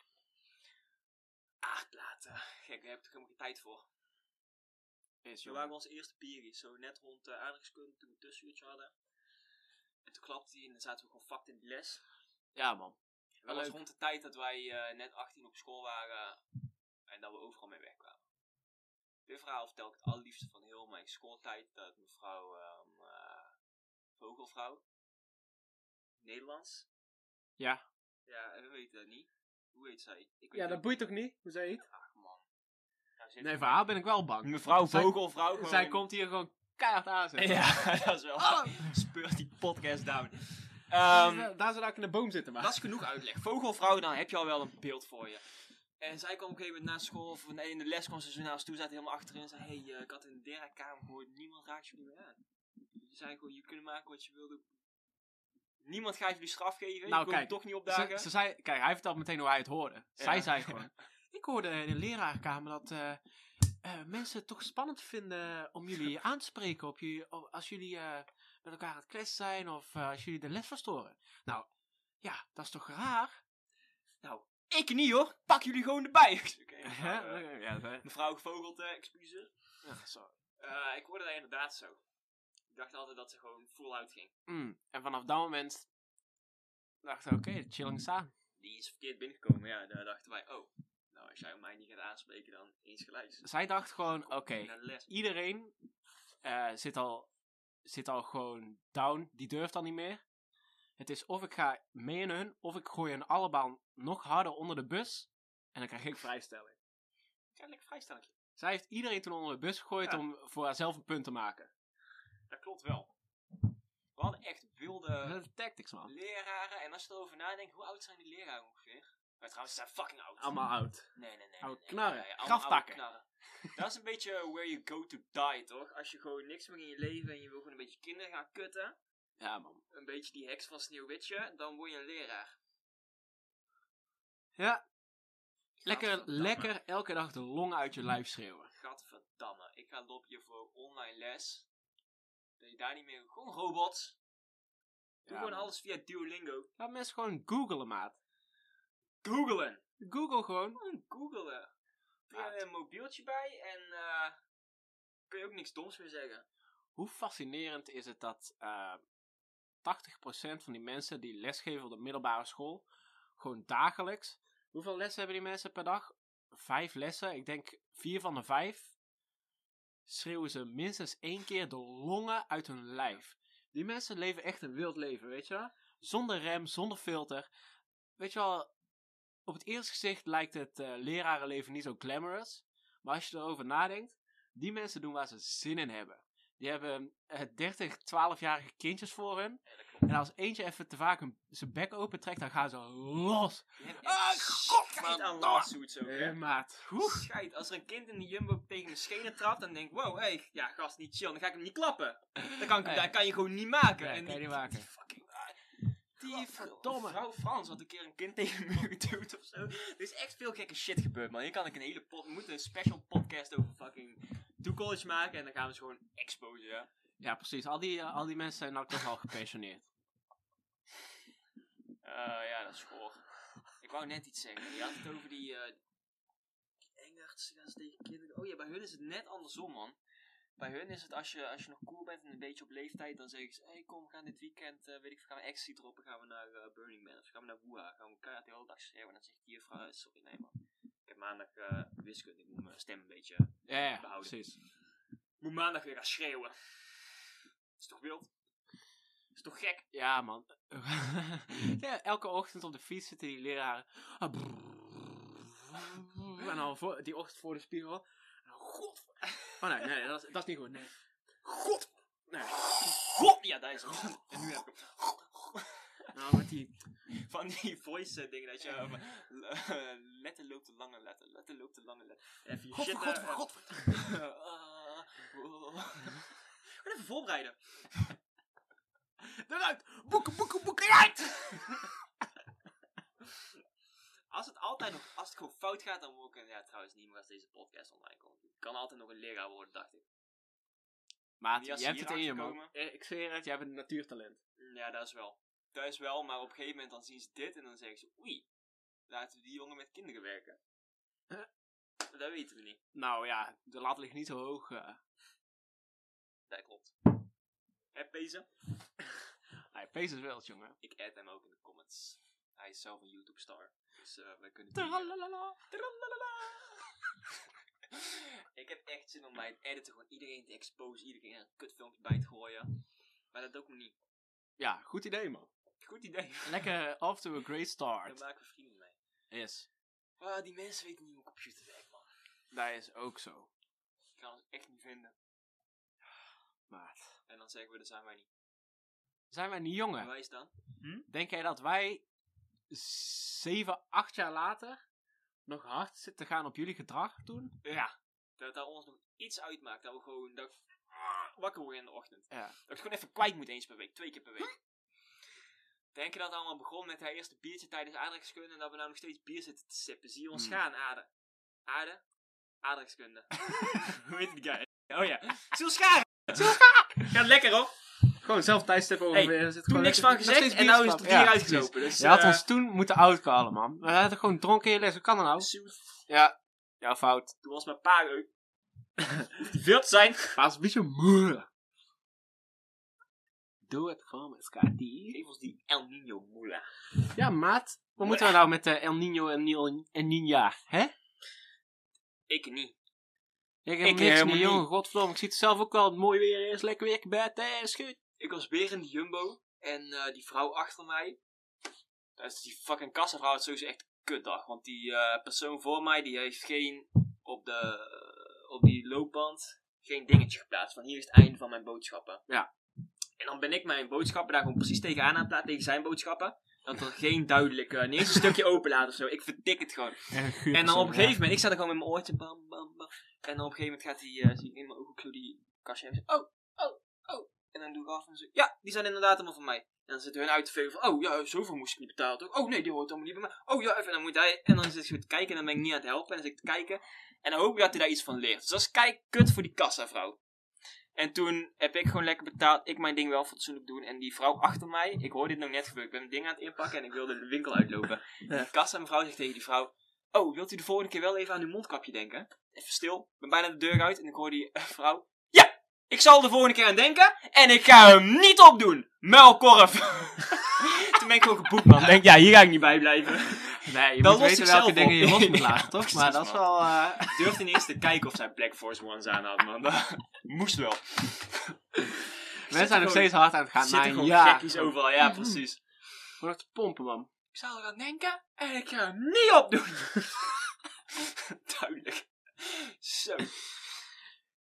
Speaker 1: Aardlaten. Gek, daar heb ik toch helemaal geen tijd voor.
Speaker 3: Is
Speaker 1: Toen waren we onze eerste biertjes, zo net rond de aardrijkskunde, toen we een tussenuurtje hadden. En toen klapte hij en dan zaten we gewoon fucked in die les.
Speaker 3: Ja, man.
Speaker 1: Dat was
Speaker 3: Ah, leuk.
Speaker 1: rond de tijd dat wij eh, net 18 op school waren en dat we overal mee wegkwamen. Dit verhaal vertel ik het allerliefste van heel mijn schooltijd. Dat mevrouw ehm, eh, Vogelvrouw, Nederlands.
Speaker 3: Ja.
Speaker 1: Ja, we weten dat niet. Hoe heet zij? Ik weet
Speaker 3: Ja, dat
Speaker 1: het
Speaker 3: boeit toch niet? Hoe zei je het?
Speaker 1: Ach man. Nou, ze heeft
Speaker 3: Nee, voor haar ben ik wel bang.
Speaker 1: Mevrouw
Speaker 3: Zij-
Speaker 1: Vogelvrouw gewoon...
Speaker 3: Zij komt hier gewoon keihard aanzetten.
Speaker 1: [LAUGHS] Ja, dat is wel...
Speaker 3: Oh.
Speaker 1: Speurt die podcast down.
Speaker 3: [LAUGHS] Daar
Speaker 1: Ehm,
Speaker 3: zou- daar zou ik in de boom zitten, maar.
Speaker 1: dat is genoeg uitleg. Vogelvrouw, dan heb je al wel een beeld voor je. En zij kwam op een gegeven moment na school, of nee, in de les kwam ze zo naar ons toe, zat helemaal achterin en zei, hey, eh, ik had in de deraadkamer gehoord, niemand raakt jullie meer aan. Ze zei gewoon, je kunt maken wat je wilde. Niemand gaat jullie straf geven,
Speaker 3: Nou,
Speaker 1: je komt
Speaker 3: kijk,
Speaker 1: toch niet opdagen.
Speaker 3: ze, ze zei, kijk, hij vertelt meteen hoe hij het hoorde. Zij
Speaker 1: Ja.
Speaker 3: zei [LAUGHS] gewoon: Ik hoorde in de leraarkamer dat eh, eh, mensen het toch spannend vinden om [LAUGHS] jullie aan te spreken op jullie, op- als jullie eh, met elkaar aan het kletsen zijn of eh, als jullie de les verstoren. Nou, ja, dat is toch raar?
Speaker 1: Nou, Ik niet hoor, pak jullie gewoon erbij. [LAUGHS] Ik zei,
Speaker 3: [LAUGHS]
Speaker 1: Oké, mevrouw, eh,
Speaker 3: ja, dat-
Speaker 1: mevrouw gevogeld, eh, excuses.
Speaker 3: ja, zo.
Speaker 1: Eh, ik hoorde dat inderdaad zo. Ik dacht altijd dat ze gewoon full out ging.
Speaker 3: Mm, En vanaf dat moment dacht ik: Oké, de chilling is aan.
Speaker 1: Die is verkeerd binnengekomen, ja. Daar dachten wij, oh, nou als jij mij niet gaat aanspreken, dan eens gelijk.
Speaker 3: Zij dacht gewoon: Oké.
Speaker 1: Naar de les.
Speaker 3: iedereen eh, zit, al, zit al gewoon down. Die durft al niet meer. Het is of ik ga mee in hun, of ik gooi hun allemaal nog harder onder de bus. En dan krijg ik vrijstelling.
Speaker 1: Ik ga lekker vrijstelletje.
Speaker 3: Zij heeft iedereen toen onder de bus gegooid
Speaker 1: Ja.
Speaker 3: om voor haarzelf een punt te maken.
Speaker 1: Dat klopt wel. We hadden echt wilde
Speaker 3: dat is tactics, man.
Speaker 1: leraren. En als je erover nadenkt, hoe oud zijn die leraren ongeveer? Maar trouwens, ze zijn fucking oud.
Speaker 3: Allemaal oud.
Speaker 1: Nee, nee, nee, nee.
Speaker 3: Oude
Speaker 1: nee,
Speaker 3: knarren,
Speaker 1: nee, nee, allemaal oude
Speaker 3: graftakken.
Speaker 1: knarren. Dat is een beetje where you go to die, toch? Als je gewoon niks meer in je leven en je wil gewoon een beetje kinderen gaan kutten.
Speaker 3: Ja, man.
Speaker 1: Een beetje die heks van Sneeuwwitje. Dan word je een leraar.
Speaker 3: Ja. Lekker,
Speaker 1: Gadverdamme.
Speaker 3: lekker elke dag de long uit je lijf schreeuwen.
Speaker 1: Gadverdamme, ik ga lobby voor online les. Dat je daar niet meer... Gewoon robots. Doe
Speaker 3: Ja,
Speaker 1: gewoon
Speaker 3: man.
Speaker 1: alles via Duolingo.
Speaker 3: Laat mensen gewoon googelen, maat.
Speaker 1: Googelen.
Speaker 3: Google gewoon.
Speaker 1: Gewoon googelen. Doe
Speaker 3: Maat.
Speaker 1: je een mobieltje bij en eh, kun je ook niks doms meer zeggen.
Speaker 3: Hoe fascinerend is het dat eh 80% van die mensen die lesgeven op de middelbare school, gewoon dagelijks. Hoeveel lessen hebben die mensen per dag? Vijf lessen. Ik denk vier van de vijf schreeuwen ze minstens één keer de longen uit hun lijf. Die mensen leven echt een wild leven, weet je wel? Zonder rem, zonder filter. Weet je wel, op het eerste gezicht lijkt het eh, lerarenleven niet zo glamorous. Maar als je erover nadenkt, die mensen doen waar ze zin in hebben. Die hebben eh, 30, 12-jarige kindjes voor hun.
Speaker 1: Ja, dat klopt.
Speaker 3: En als eentje even te vaak een- zijn bek open trekt, dan gaan ze los.
Speaker 1: Je hebt echt
Speaker 3: Ah,
Speaker 1: scheid aan lawsuits ook,
Speaker 3: Eh,
Speaker 1: hè.
Speaker 3: maat. Oeh.
Speaker 1: Scheid. Als er een kind in de jumbo tegen mijn schenen trapt, dan denk ik, wow, hé, ja, gast, niet chill. Dan ga ik hem niet klappen. Dan kan, ik, hem-
Speaker 3: Nee.
Speaker 1: dat kan je gewoon niet maken.
Speaker 3: Nee,
Speaker 1: en
Speaker 3: kan je
Speaker 1: die-
Speaker 3: niet maken.
Speaker 1: Die fucking... ah, Die
Speaker 3: Godverdomme.
Speaker 1: verdomme vrouw Frans had een keer een kind tegen me [LAUGHS] geduwd of zo. Er is echt veel gekke shit gebeurd, man. Hier kan ik een hele pot... We moeten een special podcast over fucking toekomst maken. En dan gaan we ze gewoon exposen, ja.
Speaker 3: Ja, precies. Al die, eh, al die mensen zijn nou toch al gepensioneerd.
Speaker 1: Eh, ja, dat is goor. Ik wou net iets zeggen. Je had het over die, eh die engards die gaan ze tegen kinderen. Oh ja, bij hun is het net andersom, man. Bij hun is het als je, als je nog cool bent en een beetje op leeftijd, dan zeggen ze: hey, kom, we gaan dit weekend, eh, weet ik, veel, gaan we ecstasy droppen, gaan we naar eh, Burning Man of gaan we naar Woeha, gaan we elkaar de hele dag schreeuwen. En dan zegt die juffrouw: eh, Sorry, nee, man. Ik heb maandag eh, wiskunde, ik moet mijn stem een beetje. Ik
Speaker 3: Ja, ja,
Speaker 1: Behouden.
Speaker 3: precies.
Speaker 1: moet maandag weer gaan schreeuwen. Is toch wild? Is toch gek?
Speaker 3: Ja, man. [LAUGHS] ja, elke ochtend op de fiets zitten die leraren. Ah, brrr. En dan voor, die ochtend voor de spiegel. En dan, God. Oh nee, nee, dat is, dat is niet goed. Nee. God. Nee.
Speaker 1: God! Ja, daar is het. En nu heb ik hem.
Speaker 3: Nou, met die.
Speaker 1: van die voice eh, dingen dat je over [LAUGHS] letter loopt de lange letter, letter loopt de lange letter. Even je shit.
Speaker 3: Godver,
Speaker 1: eh,
Speaker 3: godver, godver.
Speaker 1: eh, [LAUGHS] ah, oh. Gewoon even voorbereiden.
Speaker 3: Eruit. Boeken, boeken, boeken. Eruit.
Speaker 1: Als het altijd nog, als het gewoon fout gaat, dan word ik, ja trouwens niet meer als deze podcast online komt. Ik kan altijd nog een leraar worden, dacht ik.
Speaker 3: Maat,
Speaker 1: Die als
Speaker 3: je hebt
Speaker 1: hier
Speaker 3: het in je man.
Speaker 1: achterkomen.
Speaker 3: Eh, Ik zweer het, jij bent een natuurtalent.
Speaker 1: Mm, Ja, dat is wel. Dat is wel, maar op een gegeven moment dan zien ze dit en dan zeggen ze, oei, laten we die jongen met kinderen werken.
Speaker 3: Eh.
Speaker 1: Dat weten we niet.
Speaker 3: Nou ja, de lat ligt niet zo hoog. eh.
Speaker 1: Dat klopt. Heb deze?
Speaker 3: Hij pees is wel, jongen.
Speaker 1: Ik add hem ook in de comments. Hij is zelf een YouTube star. Dus eh wij kunnen die, eh,
Speaker 3: Tralalala.
Speaker 1: Tralalala. [LAUGHS] ik heb echt zin om mijn editen gewoon iedereen te exposen, iedereen een kutfilmpje bij te gooien. Maar dat doe ik me niet.
Speaker 3: Ja, goed idee, man.
Speaker 1: Goed idee.
Speaker 3: Lekker off to a great
Speaker 1: Daar
Speaker 3: start.
Speaker 1: maken we vrienden mee.
Speaker 3: Yes.
Speaker 1: Ah, die mensen weten niet hoe een computer werkt, man.
Speaker 3: Dat is ook zo.
Speaker 1: Ik kan het echt niet vinden.
Speaker 3: Maat.
Speaker 1: En dan zeggen we, dat zijn wij niet.
Speaker 3: Zijn wij niet
Speaker 1: En
Speaker 3: jongen?
Speaker 1: wij staan.
Speaker 3: Denk jij dat wij 7, 8 jaar later nog hard zitten gaan op jullie gedrag toen?
Speaker 1: Ja. Dat dat ons nog iets uitmaakt. Dat we gewoon dat ik wakker worden in de ochtend.
Speaker 3: Ja.
Speaker 1: Dat ik het gewoon even kwijt moet eens per week. Twee keer per week. Denk je dat het allemaal begon met haar eerste biertje tijdens aardrijkskunde en dat we nou nog steeds bier zitten te sippen? Zie je ons
Speaker 3: Hmm.
Speaker 1: gaan, Aarde. Aarde? [LAUGHS] Aardrijkskunde. Hoe heet die guy? [LAUGHS] Oh ja. Zul scharen! Zul scharen! [LAUGHS] Gaat lekker hoor.
Speaker 3: Gewoon zelf tijdstip over.
Speaker 1: Hey, Toen niks van gezegd en nou is het op bier uitgelopen. Dus,
Speaker 3: Je had
Speaker 1: eh,
Speaker 3: ons toen moeten outcallen, man. We hadden gewoon dronken in je les. Hoe kan dat nou?
Speaker 1: zoet.
Speaker 3: Ja. Ja, fout.
Speaker 1: Toen was mijn pa [LAUGHS] ook. Hoeft niet veel te zijn.
Speaker 3: Maar het is een beetje moeilijk. Doe het gewoon met Skadi.
Speaker 1: Geef ons die El Nino moela.
Speaker 3: Ja, maat. Wat moeten we nou met eh, El Nino en, Nil- en Ninja? Hè?
Speaker 1: Ik niet. Ik
Speaker 3: Ik heb niks
Speaker 1: helemaal
Speaker 3: meer,
Speaker 1: niet.
Speaker 3: jongen. Godverdomme. Ik zie het zelf ook wel. Het mooi weer is. Lekker weer. Bed. Eh, schut.
Speaker 1: Ik was weer in de Jumbo. En eh, die vrouw achter mij. Dat is die fucking kassenvrouw. Het is sowieso echt een kutdag. Want die eh, persoon voor mij. Die heeft geen. Op, de, eh, op die loopband. Geen dingetje geplaatst. Van hier is het einde van mijn boodschappen.
Speaker 3: Ja.
Speaker 1: En dan ben ik mijn boodschappen daar gewoon precies tegenaan aan het plaatsen. Tegen zijn boodschappen. Dat er geen duidelijke. Niet eens een stukje [LAUGHS] open laat of zo. Ik verdik het gewoon. En dan op een gegeven moment, ik zat er gewoon met mijn oortje, bam, bam, bam. En dan op een gegeven moment gaat hij, eh, zie ik in mijn ogen, kleur die kastje en zegt, oh, oh, oh. En dan doe ik af en zeg, ja, die zijn inderdaad allemaal van mij. En dan zitten hun uit te vegen van, oh ja, zoveel moest ik niet betalen toch? Oh nee, die hoort allemaal niet bij mij. Oh ja, even, en dan moet hij, en dan zit ik zo te kijken en dan ben ik niet aan het helpen. En dan zit ik te kijken en dan hoop ik dat hij daar iets van leert. Dus dat is kijk, kut voor die kassavrouw. En toen heb ik gewoon lekker betaald, ik mijn ding wel fatsoenlijk doen. En die vrouw achter mij, ik hoor dit nog net gebeuren, ik ben mijn ding aan het inpakken en ik wilde de winkel uitlopen.
Speaker 3: Ja.
Speaker 1: Die kassamevrouw zegt tegen die vrouw, Oh, wilt u de volgende keer wel even aan uw mondkapje denken? Even stil. Ik ben bijna de deur uit en ik hoor die eh, vrouw. Ja, ik zal de volgende keer aan denken en ik ga hem niet opdoen. Muilkorf. [LAUGHS] Toen ben ik gewoon geboekt, man. Ik Denk, ja, hier ga ik niet bij blijven.
Speaker 3: Nee, je
Speaker 1: Dan
Speaker 3: moet
Speaker 1: lost
Speaker 3: weten
Speaker 1: ik
Speaker 3: welke
Speaker 1: zelf
Speaker 3: dingen
Speaker 1: op.
Speaker 3: je [LAUGHS] los moet
Speaker 1: Ja,
Speaker 3: laten, toch?
Speaker 1: precies,
Speaker 3: Maar dat is
Speaker 1: man.
Speaker 3: wel... [LAUGHS] eh,
Speaker 1: Ik durfde niet eens te kijken of zij Black Force Ones aan had, man. Dat Moest wel.
Speaker 3: Mensen zijn nog steeds hard aan het gaan
Speaker 1: Zitten
Speaker 3: naaien.
Speaker 1: gewoon
Speaker 3: Ja,
Speaker 1: gekkies overal. Ja, precies.
Speaker 3: Gewoon echt te pompen, man.
Speaker 1: Ik zal er aan denken en ik ga hem niet
Speaker 3: [LAUGHS]
Speaker 1: opdoen. Duidelijk. Zo.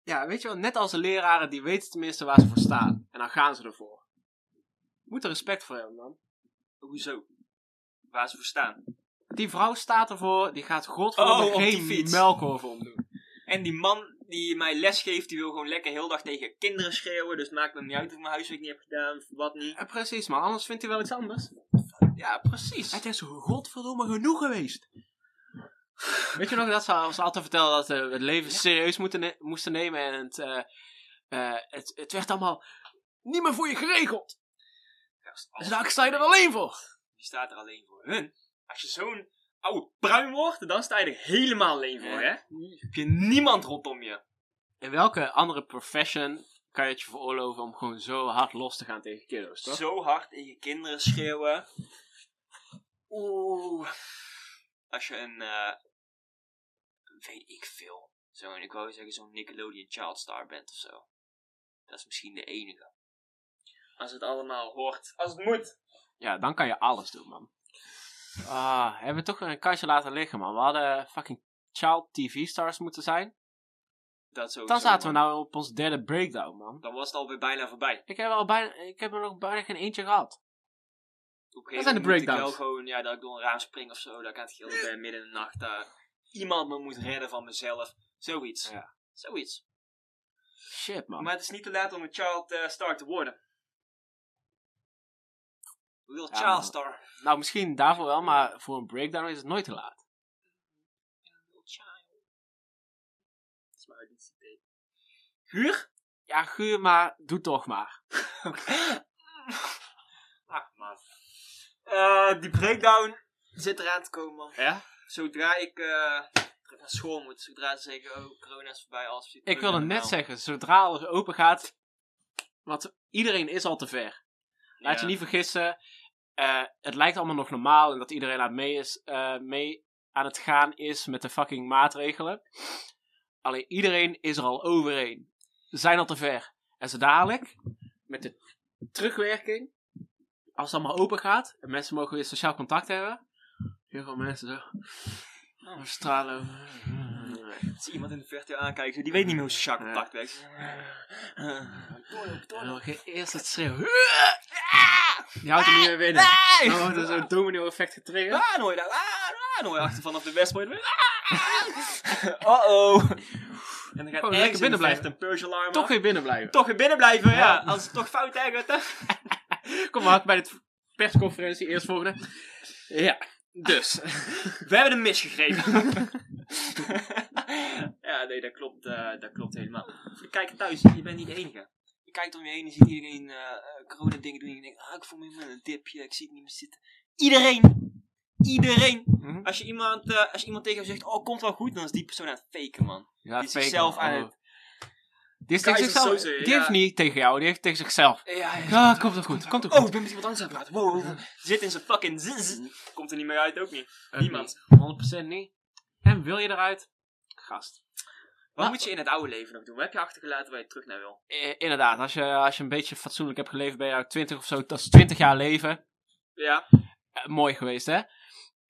Speaker 3: Ja, weet je wel, net als de leraren, die weten tenminste waar ze voor staan. En dan gaan ze ervoor. Moet er respect voor hebben, man.
Speaker 1: Hoezo? Waar ze voor staan.
Speaker 3: Die vrouw staat ervoor, die gaat godverdomme
Speaker 1: Oh, op die
Speaker 3: geen
Speaker 1: fiets.
Speaker 3: melkorf omdoen.
Speaker 1: En die man die mij les geeft, die wil gewoon lekker heel dag tegen kinderen schreeuwen. Dus het maakt me niet uit of ik mijn huiswerk niet heb gedaan of wat niet.
Speaker 3: Ja, precies, man. Anders vindt hij wel iets anders.
Speaker 1: Ja, precies.
Speaker 3: Het is godverdomme genoeg geweest. Weet je nog dat ze ons altijd vertelden dat eh, we het leven
Speaker 1: Ja.
Speaker 3: serieus moeten ne- moesten nemen en het, eh, eh, het, het werd allemaal niet meer voor je geregeld.
Speaker 1: Gast,
Speaker 3: Dus
Speaker 1: als-
Speaker 3: daar sta je er alleen voor.
Speaker 1: Die staat er alleen voor hun. Als je zo'n oude pruim wordt, dan sta je er helemaal alleen voor, hè? Heb je niemand rondom je.
Speaker 3: In welke andere profession kan je het je veroorloven om gewoon zo hard los te gaan tegen kiddo's, toch?
Speaker 1: Zo hard in je kinderen schreeuwen. Oeh. Als je een, eh, weet ik veel, zo'n, ik wou zeggen zo'n Nickelodeon Child Star bent of zo. Dat is misschien de enige. Als het allemaal hoort. Als het moet.
Speaker 3: Ja, dan kan je alles doen, man. Ah, hebben we toch weer een kansje laten liggen, man. We hadden fucking child TV stars moeten zijn.
Speaker 1: Dat sowieso,
Speaker 3: Dan zaten we
Speaker 1: man.
Speaker 3: nou op ons derde breakdown, man.
Speaker 1: Dan was het alweer bijna voorbij.
Speaker 3: Ik heb, al bijna, ik heb er nog bijna geen eentje gehad.
Speaker 1: Op
Speaker 3: Dat
Speaker 1: een
Speaker 3: zijn de
Speaker 1: gegeven moment moet ik wel
Speaker 3: breakdowns.
Speaker 1: gewoon, ja, dat ik door een raam spring of zo, dat ik aan het gillen ben midden in de nacht, dat iemand me moet redden van mezelf. Zoiets.
Speaker 3: Ja.
Speaker 1: Zoiets.
Speaker 3: Shit, man.
Speaker 1: Oh. Maar het is niet te laat om een child eh, star te worden. Real
Speaker 3: Ja,
Speaker 1: child
Speaker 3: man.
Speaker 1: star.
Speaker 3: Nou, misschien daarvoor wel, maar voor een breakdown is het nooit te laat.
Speaker 1: Real child. Dat is mijn auditie Huur?
Speaker 3: Ja, guur maar, doe toch maar.
Speaker 1: Ach man. Eh, die breakdown zit eraan te komen man.
Speaker 3: Ja?
Speaker 1: Zodra ik eh, terug naar school moet, zodra ze zeggen, oh corona is voorbij, alles is weer
Speaker 3: Ik
Speaker 1: terug
Speaker 3: wilde
Speaker 1: naar
Speaker 3: net
Speaker 1: normaal.
Speaker 3: zeggen, zodra alles open gaat... Want iedereen is al te ver. Laat je
Speaker 1: Ja.
Speaker 3: niet vergissen. eh, het lijkt allemaal nog normaal en dat iedereen aan het mee, is, eh, mee aan het gaan is met de fucking maatregelen. Alleen iedereen is er al overheen. Ze zijn al te ver. En zo dadelijk, met de terugwerking, als het allemaal open gaat en mensen mogen weer sociaal contact hebben. Heel veel mensen zo. Oh, stralen.
Speaker 1: Als iemand in de verte aankijkt, zo, die weet Eh. niet meer hoe sociaal contact werkt.
Speaker 3: En dan ge- eerst het schreeuwen.
Speaker 1: Ah!
Speaker 3: Die houdt er niet meer binnen. Oh,
Speaker 1: Nee!
Speaker 3: Dan wordt er zo'n domino-effect getriggerd.
Speaker 1: Ah, nooit daar. Ah, ah, nooit achter vanaf de westpoint. Ah, oh. En dan gaat
Speaker 3: Oh, lekker
Speaker 1: ergens in de
Speaker 3: binnen blijven.
Speaker 1: verte een purge alarm.
Speaker 3: Toch
Speaker 1: af.
Speaker 3: weer binnen blijven.
Speaker 1: toch weer binnen blijven, ja.
Speaker 3: Ja.
Speaker 1: Als het toch fout ergert, hè.
Speaker 3: Kom maar, bij de persconferentie eerst volgende. Ja, dus.
Speaker 1: [LAUGHS] We hebben hem misgegrepen. [LAUGHS] ja, nee, dat klopt, eh, dat klopt helemaal. Voor de kijker thuis, je bent niet de enige. Je kijkt om je heen en ziet iedereen eh, eh, corona-dingen doen. En je denkt, ah, ik voel me helemaal in een dipje, ik zie het niet meer zitten. Iedereen! Iedereen!
Speaker 3: Hm?
Speaker 1: Als je iemand, eh, als je iemand tegen hem zegt, oh, komt wel goed, dan is die persoon aan het faken, man.
Speaker 3: Ja, Oh.
Speaker 1: Die is zichzelf aan het...
Speaker 3: Die, is tegen
Speaker 1: Keizer
Speaker 3: zichzelf,
Speaker 1: Soze,
Speaker 3: die
Speaker 1: ja.
Speaker 3: heeft niet tegen jou, die heeft tegen zichzelf.
Speaker 1: Ja,
Speaker 3: Ja, komt toch goed, komt toch
Speaker 1: Oh,
Speaker 3: goed.
Speaker 1: ik ben met iemand anders aan het praten. Wow, wow, Mm. wow. [LAUGHS] Zit in zijn fucking zzz. Komt er niet meer uit, ook niet.
Speaker 3: Ehm,
Speaker 1: niemand.
Speaker 3: 100% niet. En wil je eruit? Gast.
Speaker 1: Wat
Speaker 3: Maar-
Speaker 1: moet je in het oude leven nog doen? Wat heb je achtergelaten waar je terug naar wil?
Speaker 3: Eh, inderdaad, als je, als je een beetje fatsoenlijk hebt geleefd bij jou 20 of zo, dat is 20 jaar leven.
Speaker 1: Ja.
Speaker 3: Eh, mooi geweest, hè?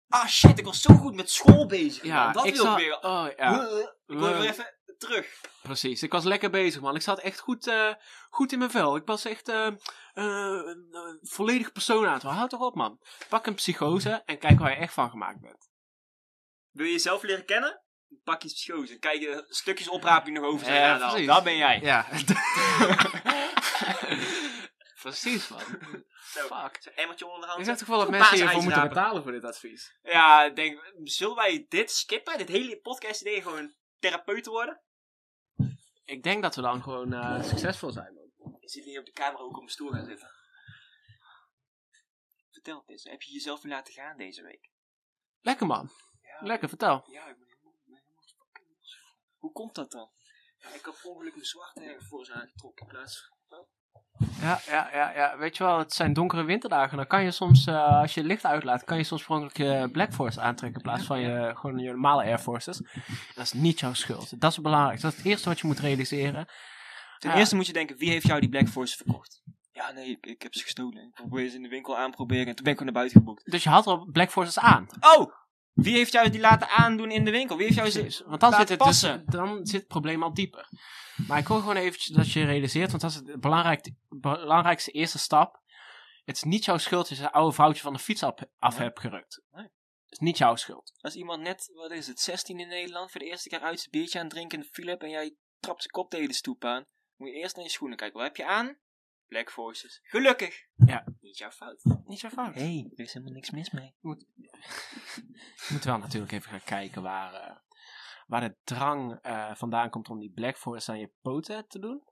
Speaker 1: Ah shit, ik was zo goed met school bezig.
Speaker 3: Ja,
Speaker 1: man. Dat
Speaker 3: ik
Speaker 1: wil
Speaker 3: zal-
Speaker 1: ik weer.
Speaker 3: Oh, ja,
Speaker 1: Huh, Ik wil weer even terug.
Speaker 3: precies. Ik was lekker bezig, man. Ik zat echt goed, eh, goed in mijn vel. Ik was echt eh, eh, een eh, volledig persoon aan het worden. Houd toch op, man. Pak een psychose en kijk waar je echt van gemaakt bent.
Speaker 1: Wil je jezelf leren kennen? Pak je schoos en kijk je stukjes opraap die nog over zijn.
Speaker 3: Ja,
Speaker 1: Ja, dan,
Speaker 3: precies.
Speaker 1: dat ben jij.
Speaker 3: Ja. [LAUGHS] precies, man. Fuck.
Speaker 1: Zo'n emmertje onder de hand.
Speaker 3: Ik zeg toch wel dat
Speaker 1: Een
Speaker 3: mensen
Speaker 1: paasijs
Speaker 3: hiervoor moeten
Speaker 1: rapen.
Speaker 3: betalen voor dit advies.
Speaker 1: Ja, ik denk, zullen wij dit skippen? Dit hele podcast idee gewoon therapeut worden?
Speaker 3: Ik denk dat we dan gewoon eh, succesvol zijn, man.
Speaker 1: Je zit niet op de camera ook op mijn stoel gaan zitten. Vertel het eens, heb je jezelf weer laten gaan deze week?
Speaker 3: Lekker, man.
Speaker 1: Ja,
Speaker 3: Lekker, vertel.
Speaker 1: Ja, ik ben helemaal, ik ben helemaal fucking los. Hoe komt dat dan? Ja, ik heb per ongeluk mijn zwarte ergens voor eens aangetrokken in plaats van...
Speaker 3: Ja, ja, ja, ja. Weet je wel, het zijn donkere winterdagen. Dan kan je soms, eh, als je licht uitlaat, kan je soms sprongelijk je eh, Black Force aantrekken in plaats van je, gewoon je normale Air Forces. Dat is niet jouw schuld. Dat is belangrijk. Dat is het eerste wat je moet realiseren.
Speaker 1: Ten
Speaker 3: Ja.
Speaker 1: eerste moet je denken, wie heeft jou die Black Force verkocht? Ja, nee, ik, ik heb ze gestolen. Ik probeer ze in de winkel aan te proberen en toen ben ik gewoon naar buiten geboekt.
Speaker 3: Dus je had al Black Forces aan.
Speaker 1: Oh! Wie heeft jou die laten aandoen in de winkel? Wie heeft jou ze...
Speaker 3: Precies, want dan
Speaker 1: laat
Speaker 3: zit, het dus,
Speaker 1: passen.
Speaker 3: dan zit het probleem al dieper. Maar ik wil gewoon eventjes dat je realiseert, want dat is de belangrijk, belangrijkste eerste stap. Het is niet jouw schuld dat je een oude vrouwtje van de fiets af, af
Speaker 1: Nee.
Speaker 3: hebt gerukt.
Speaker 1: Nee.
Speaker 3: Het is niet jouw schuld.
Speaker 1: Als iemand net, wat is het, 16 in Nederland voor de eerste keer uit zijn biertje aan het drinken in de file hebt en jij trapt zijn kop tegen de stoep aan, moet je eerst naar je schoenen kijken. Wat heb je aan? Black Forces. Gelukkig.
Speaker 3: Ja.
Speaker 1: Niet jouw fout.
Speaker 3: Niet jouw fout.
Speaker 1: hey, er is helemaal niks mis mee.
Speaker 3: Je moet wel natuurlijk even gaan kijken waar, eh, waar de drang eh, vandaan komt om die Black Forest aan je poten te doen.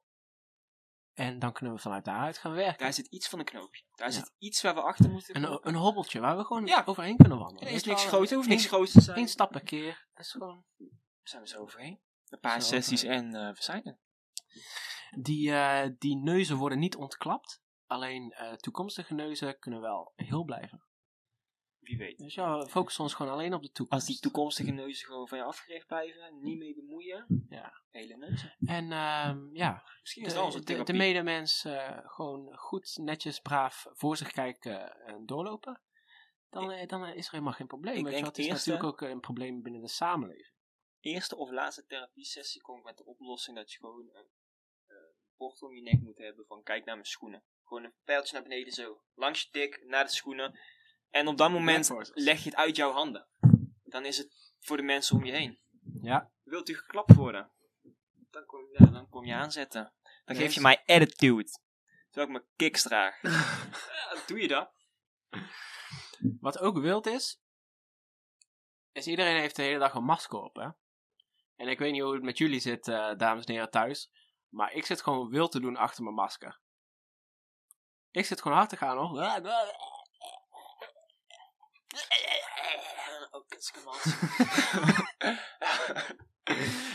Speaker 3: En dan kunnen we vanuit daaruit gaan werken.
Speaker 1: Daar zit iets van een knoopje. Daar
Speaker 3: Ja.
Speaker 1: zit iets waar we achter moeten.
Speaker 3: Een, een hobbeltje waar we gewoon
Speaker 1: Ja.
Speaker 3: overheen kunnen wandelen.
Speaker 1: er is
Speaker 3: Weet je
Speaker 1: niks
Speaker 3: wel,
Speaker 1: groots, er hoeft niks
Speaker 3: één-
Speaker 1: groots te zijn.
Speaker 3: Eén stap per keer. Dat is gewoon
Speaker 1: Zijn we zo overheen? Een paar
Speaker 3: Zo
Speaker 1: sessies en eh, we zijn er.
Speaker 3: Die, eh, die neuzen worden niet ontklapt. Alleen eh, toekomstige neuzen kunnen wel heel blijven.
Speaker 1: Wie weet.
Speaker 3: Dus ja, we focussen ons gewoon alleen op de toekomst.
Speaker 1: Als die toekomstige neuzen gewoon van je afgericht blijven, niet mee bemoeien.
Speaker 3: Ja.
Speaker 1: Hele neuzen.
Speaker 3: En ehm, ja,
Speaker 1: Misschien is dat onze
Speaker 3: de, de, de
Speaker 1: therapie.
Speaker 3: medemens eh, gewoon goed, netjes, braaf voor zich kijken en doorlopen. Dan, eh, dan eh, is er helemaal geen probleem.
Speaker 1: Ik
Speaker 3: Weet je
Speaker 1: denk
Speaker 3: wel, het is
Speaker 1: eerst,
Speaker 3: natuurlijk ook eh, een probleem binnen de samenleving.
Speaker 1: eerste of laatste therapie sessie kom ik met de oplossing dat je gewoon een eh, bord om je nek moet hebben van kijk naar mijn schoenen. Gewoon een pijltje naar beneden zo, langs je dik, naar de schoenen. En op dat moment
Speaker 3: Black forces.
Speaker 1: leg je het uit jouw handen. Dan is het voor de mensen om je heen.
Speaker 3: Ja.
Speaker 1: Wilt u geklapt worden? Dan kom, ja, dan kom je aanzetten. Dan geef je
Speaker 3: Yes.
Speaker 1: mij attitude. Terwijl ik mijn kicks
Speaker 3: [LAUGHS]
Speaker 1: draag. Ja, doe je dat? [LAUGHS]
Speaker 3: Wat ook wild is, is iedereen heeft de hele dag een masker op, hè. En ik weet niet hoe het met jullie zit, eh, dames en heren thuis. Maar ik zit gewoon wild te doen achter mijn masker. Ik zit gewoon hard te gaan, hoor.
Speaker 1: Oh, kutskeman.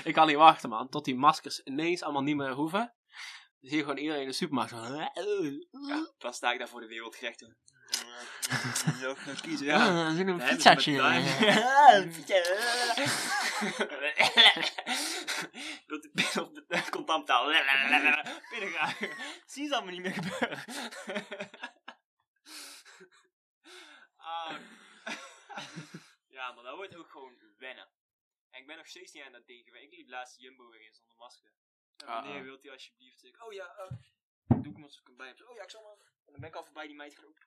Speaker 3: ik kan niet wachten, man. Tot die maskers ineens allemaal niet meer hoeven. Dan zie je gewoon iedereen in de supermarkt. zo, eh,
Speaker 1: Ja, dan sta ik daar voor de wereld gerecht. hoor. Welke gaan kiezen, ja.
Speaker 3: Ja, zin eh, in een
Speaker 1: Dan hebben
Speaker 3: pizzaatje.
Speaker 1: ze
Speaker 3: [LAUGHS]
Speaker 1: mijn duim. Wilt u pillen op de contanttaal? Pillen graag. Zie ze allemaal niet meer gebeuren.
Speaker 3: [LAUGHS]
Speaker 1: Ah. Ja, maar dat wordt ook gewoon wennen. En ik ben nog steeds niet aan dat denken. want Ik liep laatst Jumbo weer in zonder masker.
Speaker 3: Ah,
Speaker 1: En meneer,
Speaker 3: ah.
Speaker 1: wilt u alsjeblieft... Ik, oh ja, eh, doe ik me zo bij. Oh ja, ik zal maar... En dan ben ik al voorbij die meid gelopen.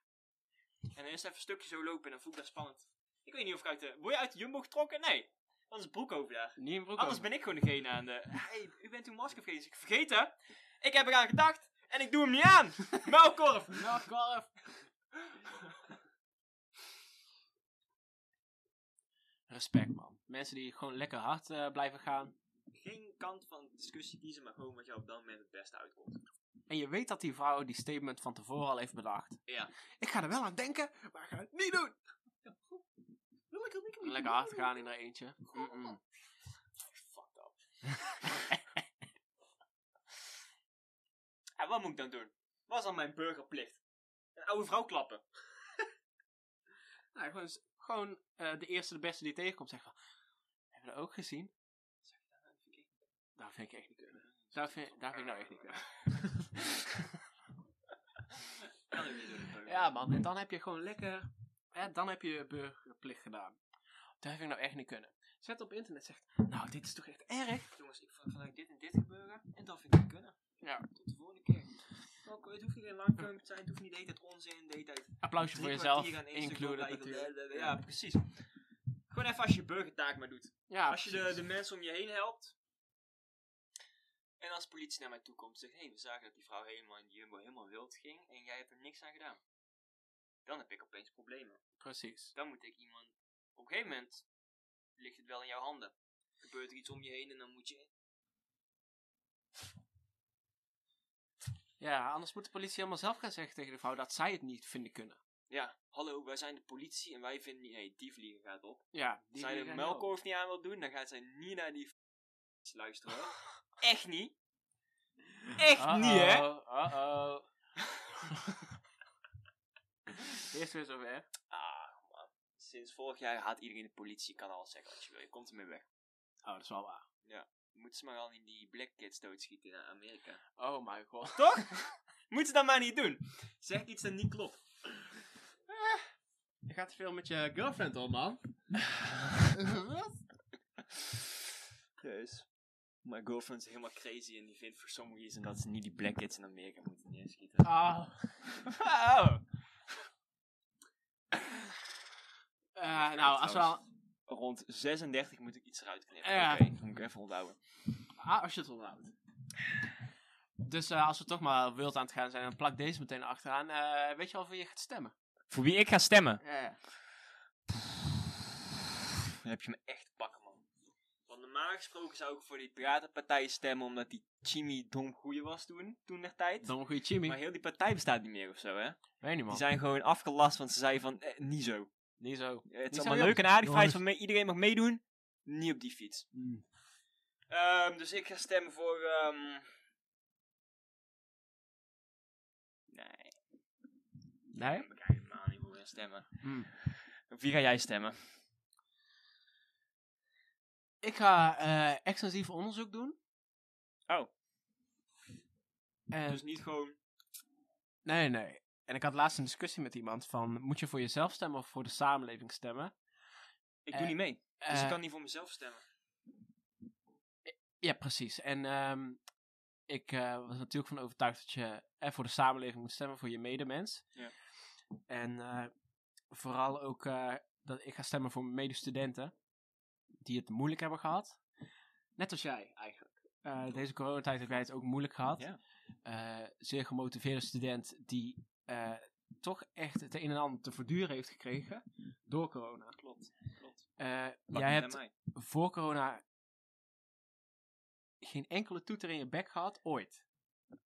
Speaker 1: En dan is even een stukje zo lopen en dan voel ik dat spannend. Ik weet niet of ik uit de... Word je uit de Jumbo getrokken? Nee. Dan is het broek over daar.
Speaker 3: Niet in broek
Speaker 1: Anders ben ik gewoon degene aan de... Hey, u bent uw masker vergeten. Dus ik vergeet hè? Ik heb eraan gedacht en ik doe hem niet
Speaker 3: [LAUGHS]
Speaker 1: aan. Melkkorf.
Speaker 3: Respect, man. Mensen die gewoon lekker hard eh, blijven gaan.
Speaker 1: Geen kant van discussie kiezen, maar gewoon wat je op dat moment het beste uitkomt.
Speaker 3: En je weet dat die vrouw die statement van tevoren al heeft bedacht.
Speaker 1: Ja.
Speaker 3: Ik ga er wel aan denken, maar ik ga het niet doen.
Speaker 1: Wil ik dat niet doen?
Speaker 3: Lekker hard gaan in er eentje. Mm-mm.
Speaker 1: Fuck up. [LAUGHS] en wat moet ik dan doen? Wat is dan mijn burgerplicht? Een oude vrouw klappen.
Speaker 3: Nou, gewoon s- gewoon eh, de eerste de beste die tegenkomt zegt van... Hebben we dat ook gezien? Dat vind "Nou, ik echt niet kunnen. Dat vind, dat vind ik nou echt niet kunnen.
Speaker 1: Kan ik niet doen.
Speaker 3: Ja, man. En dan heb je gewoon lekker... Hè, dan heb je burgerplicht gedaan. Dat vind ik nou echt niet kunnen. Zet op internet zegt... Nou, dit is toch echt erg?
Speaker 1: Jongens, ik vond vanuit dit en dit gebeuren. En dat vind ik niet kunnen.
Speaker 3: Ja.
Speaker 1: Tot de volgende keer. Ook, het hoeft niet een lang film te zijn. Het hoeft niet de hele tijd onzin. De hele tijd
Speaker 3: Applausje
Speaker 1: drie
Speaker 3: voor
Speaker 1: kwartier
Speaker 3: jezelf.
Speaker 1: aan één stuk
Speaker 3: Included
Speaker 1: blijven,
Speaker 3: natuurlijk.
Speaker 1: blablabla. Ja, precies. Gewoon even als je burgertaak maar doet.
Speaker 3: Ja,
Speaker 1: Als je de, de mensen om je heen helpt. En als de politie naar mij toe komt en zegt: Hé, hey, we zagen dat die vrouw helemaal in die jumbo helemaal wild ging en jij hebt er niks aan gedaan. Dan heb ik opeens problemen. Dus
Speaker 3: precies.
Speaker 1: Dan moet ik iemand. Op een gegeven moment ligt het wel in jouw handen. Gebeurt er iets om je heen en dan moet je.
Speaker 3: Ja, anders moet de politie helemaal zelf gaan zeggen tegen de vrouw dat zij het niet vinden kunnen.
Speaker 1: Ja, hallo, wij zijn de politie en wij vinden niet. Hé, die vliegen gaat op.
Speaker 3: Ja,
Speaker 1: Als zij de melkorf niet aan wil doen, dan gaat zij niet naar die. f- luisteren hoor. Echt niet. Echt niet,
Speaker 3: Ah.
Speaker 1: hè?
Speaker 3: Uh-oh. [LAUGHS] Eerst weer zover.
Speaker 1: Ah, man. Sinds vorig jaar haat iedereen de politie. Je kan alles zeggen wat je wil. Je komt ermee weg.
Speaker 3: Oh, dat is wel waar.
Speaker 1: Moeten ze maar al in die black kids doodschieten naar Amerika.
Speaker 3: Oh my god.
Speaker 1: Toch? Moeten ze dat maar niet doen. Zeg iets dat niet klopt.
Speaker 3: [LAUGHS] Je gaat veel met je girlfriend om, man.
Speaker 1: Wat? Jezus. Mijn girlfriend is helemaal crazy en die vindt voor sommige reason dat ze niet die black kids in Amerika moeten
Speaker 3: [LAUGHS]
Speaker 1: neerschieten.
Speaker 3: Ah.
Speaker 1: Wow.
Speaker 3: Eh, nou, als, we al,
Speaker 1: Rond 36 moet ik iets eruit knippen.
Speaker 3: Ja.
Speaker 1: Oké, dan moet ik even onthouden.
Speaker 3: ah, als je het onthoudt. Dus eh, als we toch maar wild aan het gaan zijn, dan plak deze meteen achteraan. Eh, weet je al voor je gaat stemmen?
Speaker 1: Voor wie ik ga stemmen?
Speaker 3: Ja, ja.
Speaker 1: Dan heb je me echt pakken, man. Want normaal gesproken zou ik voor die Piratenpartij stemmen, omdat die Jimmy domgoeie was toen, toen der tijd.
Speaker 3: Dan een goede Jimmy.
Speaker 1: Maar heel die partij bestaat niet meer of zo, hè?
Speaker 3: Weet niet,
Speaker 1: Die
Speaker 3: man.
Speaker 1: zijn gewoon afgelast, want ze zeiden van, eh, niet zo.
Speaker 3: Niet zo.
Speaker 1: Eh, het
Speaker 3: Die
Speaker 1: is
Speaker 3: zijn
Speaker 1: allemaal leuk en aardig,
Speaker 3: jongens.
Speaker 1: vrijheid van me- iedereen mag meedoen. Niet op die fiets. Ehm, dus ik ga stemmen voor. ehm, Nee,
Speaker 3: Nee?
Speaker 1: ik ga helemaal niet voor gaan stemmen.
Speaker 3: Mm.
Speaker 1: Op wie ga jij stemmen?
Speaker 3: Ik ga eh, extensief onderzoek doen.
Speaker 1: Oh.
Speaker 3: En,
Speaker 1: Dus niet gewoon.
Speaker 3: nee, nee. En ik had laatst een discussie met iemand van, moet je voor jezelf stemmen of voor de samenleving stemmen?
Speaker 1: Ik
Speaker 3: Eh,
Speaker 1: doe niet mee. Dus ik
Speaker 3: Eh,
Speaker 1: kan niet voor mezelf stemmen.
Speaker 3: Ja, precies. En ehm, ik eh, was natuurlijk van overtuigd dat je eh, voor de samenleving moet stemmen, voor je medemens.
Speaker 1: Ja.
Speaker 3: En eh, vooral ook eh, dat ik ga stemmen voor mijn medestudenten, die het moeilijk hebben gehad. Net als jij eigenlijk. Eh, deze coronatijd heb jij het ook moeilijk gehad.
Speaker 1: Ja.
Speaker 3: Eh, zeer gemotiveerde student die eh, toch echt het een en ander te verduren heeft gekregen door corona.
Speaker 1: Klopt. klopt.
Speaker 3: Eh,
Speaker 1: Pak
Speaker 3: jij
Speaker 1: niet
Speaker 3: hebt
Speaker 1: aan mij.
Speaker 3: voor corona geen enkele toeter in je bek gehad, ooit.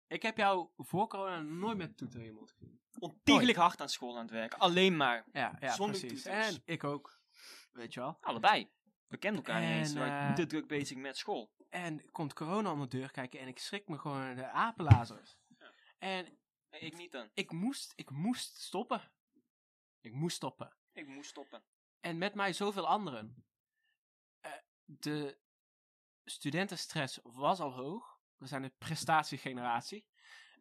Speaker 3: Ik heb jou voor corona nooit met toeter in je mond gezien.
Speaker 1: Ontiegelijk hard aan school aan het werken. Alleen maar.
Speaker 3: Ja, ja
Speaker 1: Zonder
Speaker 3: precies.
Speaker 1: toeters.
Speaker 3: En ik ook, weet je wel.
Speaker 1: Allebei. We kennen elkaar niet eens.
Speaker 3: En,
Speaker 1: We waren
Speaker 3: eh,
Speaker 1: te druk bezig met school.
Speaker 3: En komt corona om de deur kijken en ik schrik me gewoon de apenlazers. En
Speaker 1: Nee, ik niet dan.
Speaker 3: ik moest, ik moest stoppen. Ik moest stoppen.
Speaker 1: Ik moest stoppen.
Speaker 3: En met mij zoveel anderen. Eh, de studentenstress was al hoog. We zijn een prestatiegeneratie.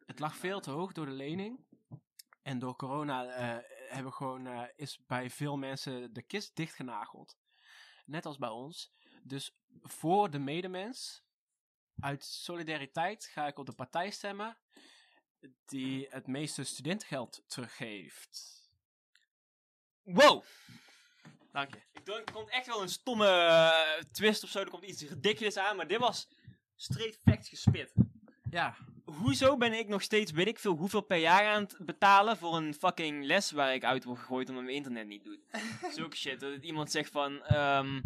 Speaker 3: Het lag veel te hoog door de lening. En door corona eh, hebben gewoon, eh, is bij veel mensen de kist dichtgenageld. Net als bij ons. Dus voor de medemens, uit solidariteit, ga ik op de partij stemmen die het meeste studentengeld teruggeeft.
Speaker 1: Wow!
Speaker 3: Dank je.
Speaker 1: Ik dacht, er komt echt wel een stomme eh, twist of zo. Er komt iets ridiculous aan, maar dit was straight facts gespit.
Speaker 3: Ja,
Speaker 1: Hoezo ben ik nog steeds, weet ik veel, hoeveel per jaar aan het betalen voor een fucking les waar ik uit word gegooid omdat mijn internet niet [LAUGHS] doet? Zulke shit, dat het iemand zegt van, ehm,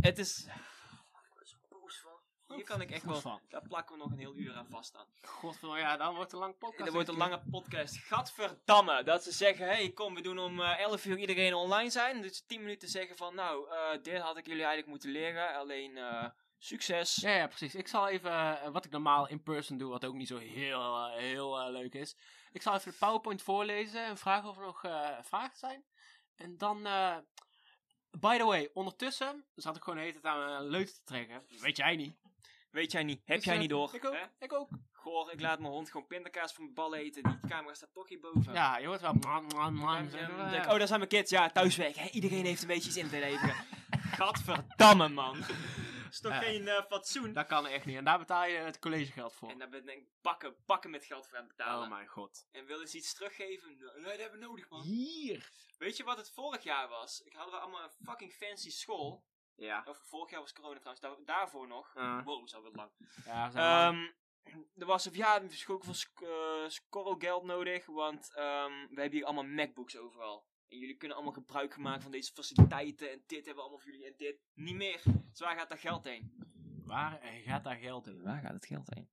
Speaker 1: het is... Ik word zo boos van. Hier kan ik echt wel...
Speaker 3: van.
Speaker 1: Daar plakken we nog een heel uur aan vast aan.
Speaker 3: Godverdomme, ja, dan wordt het een lang podcast.
Speaker 1: Er wordt een lange podcast. Gadverdamme. Dat ze zeggen, hé, hey, kom, we doen om eh, 11 uur iedereen online zijn. Dus 10 minuten zeggen van, nou, eh, dit had ik jullie eigenlijk moeten leren. Alleen, eh, succes.
Speaker 3: Ja, ja, precies. Ik zal even, eh, wat ik normaal in person doe, wat ook niet zo heel, eh, heel eh, leuk is. Ik zal even de PowerPoint voorlezen en vragen of er nog eh, vragen zijn. En dan, eh, by the way, ondertussen zat ik gewoon de hele tijd aan mijn leuten te trekken. Weet jij niet.
Speaker 1: Weet jij niet. Heb
Speaker 3: Dus,
Speaker 1: jij
Speaker 3: eh,
Speaker 1: niet door.
Speaker 3: Ik ook,
Speaker 1: hè?
Speaker 3: ik ook.
Speaker 1: Goor, ik laat mijn hond gewoon pindakaas van mijn ballen eten. Die camera staat toch hierboven.
Speaker 3: Ja, je hoort wel. man, man, man,
Speaker 1: En, ehm,
Speaker 3: zo, eh,
Speaker 1: denk ik, oh, daar zijn mijn kids. Ja, thuiswerk. Hè, iedereen heeft een beetje iets in te leveren. [LAUGHS] Gadverdamme, man. is toch
Speaker 3: Ja.
Speaker 1: geen eh, fatsoen?
Speaker 3: Dat kan echt niet. En daar betaal je het collegegeld voor.
Speaker 1: En daar ben ik bakken, bakken met geld voor aan het betalen.
Speaker 3: Oh mijn god.
Speaker 1: En willen ze iets teruggeven? Nee, dat hebben we nodig, man.
Speaker 3: Hier.
Speaker 1: Weet je wat het vorig jaar was? Ik hadden we allemaal een fucking fancy school.
Speaker 3: Ja.
Speaker 1: Of vorig jaar was corona trouwens, daar- daarvoor nog.
Speaker 3: Eh,
Speaker 1: Wow, is alweer lang.
Speaker 3: ja, we zijn lang.
Speaker 1: Ehm, er was een verjaardag ook veel sc- eh, scorrelgeld nodig, want ehm, we hebben hier allemaal MacBooks overal. En jullie kunnen allemaal gebruik maken van deze faciliteiten en dit hebben we allemaal voor jullie en dit. Niet meer. Dus waar gaat dat geld heen?
Speaker 3: Waar eh, gaat daar geld in?
Speaker 1: Waar gaat het geld heen?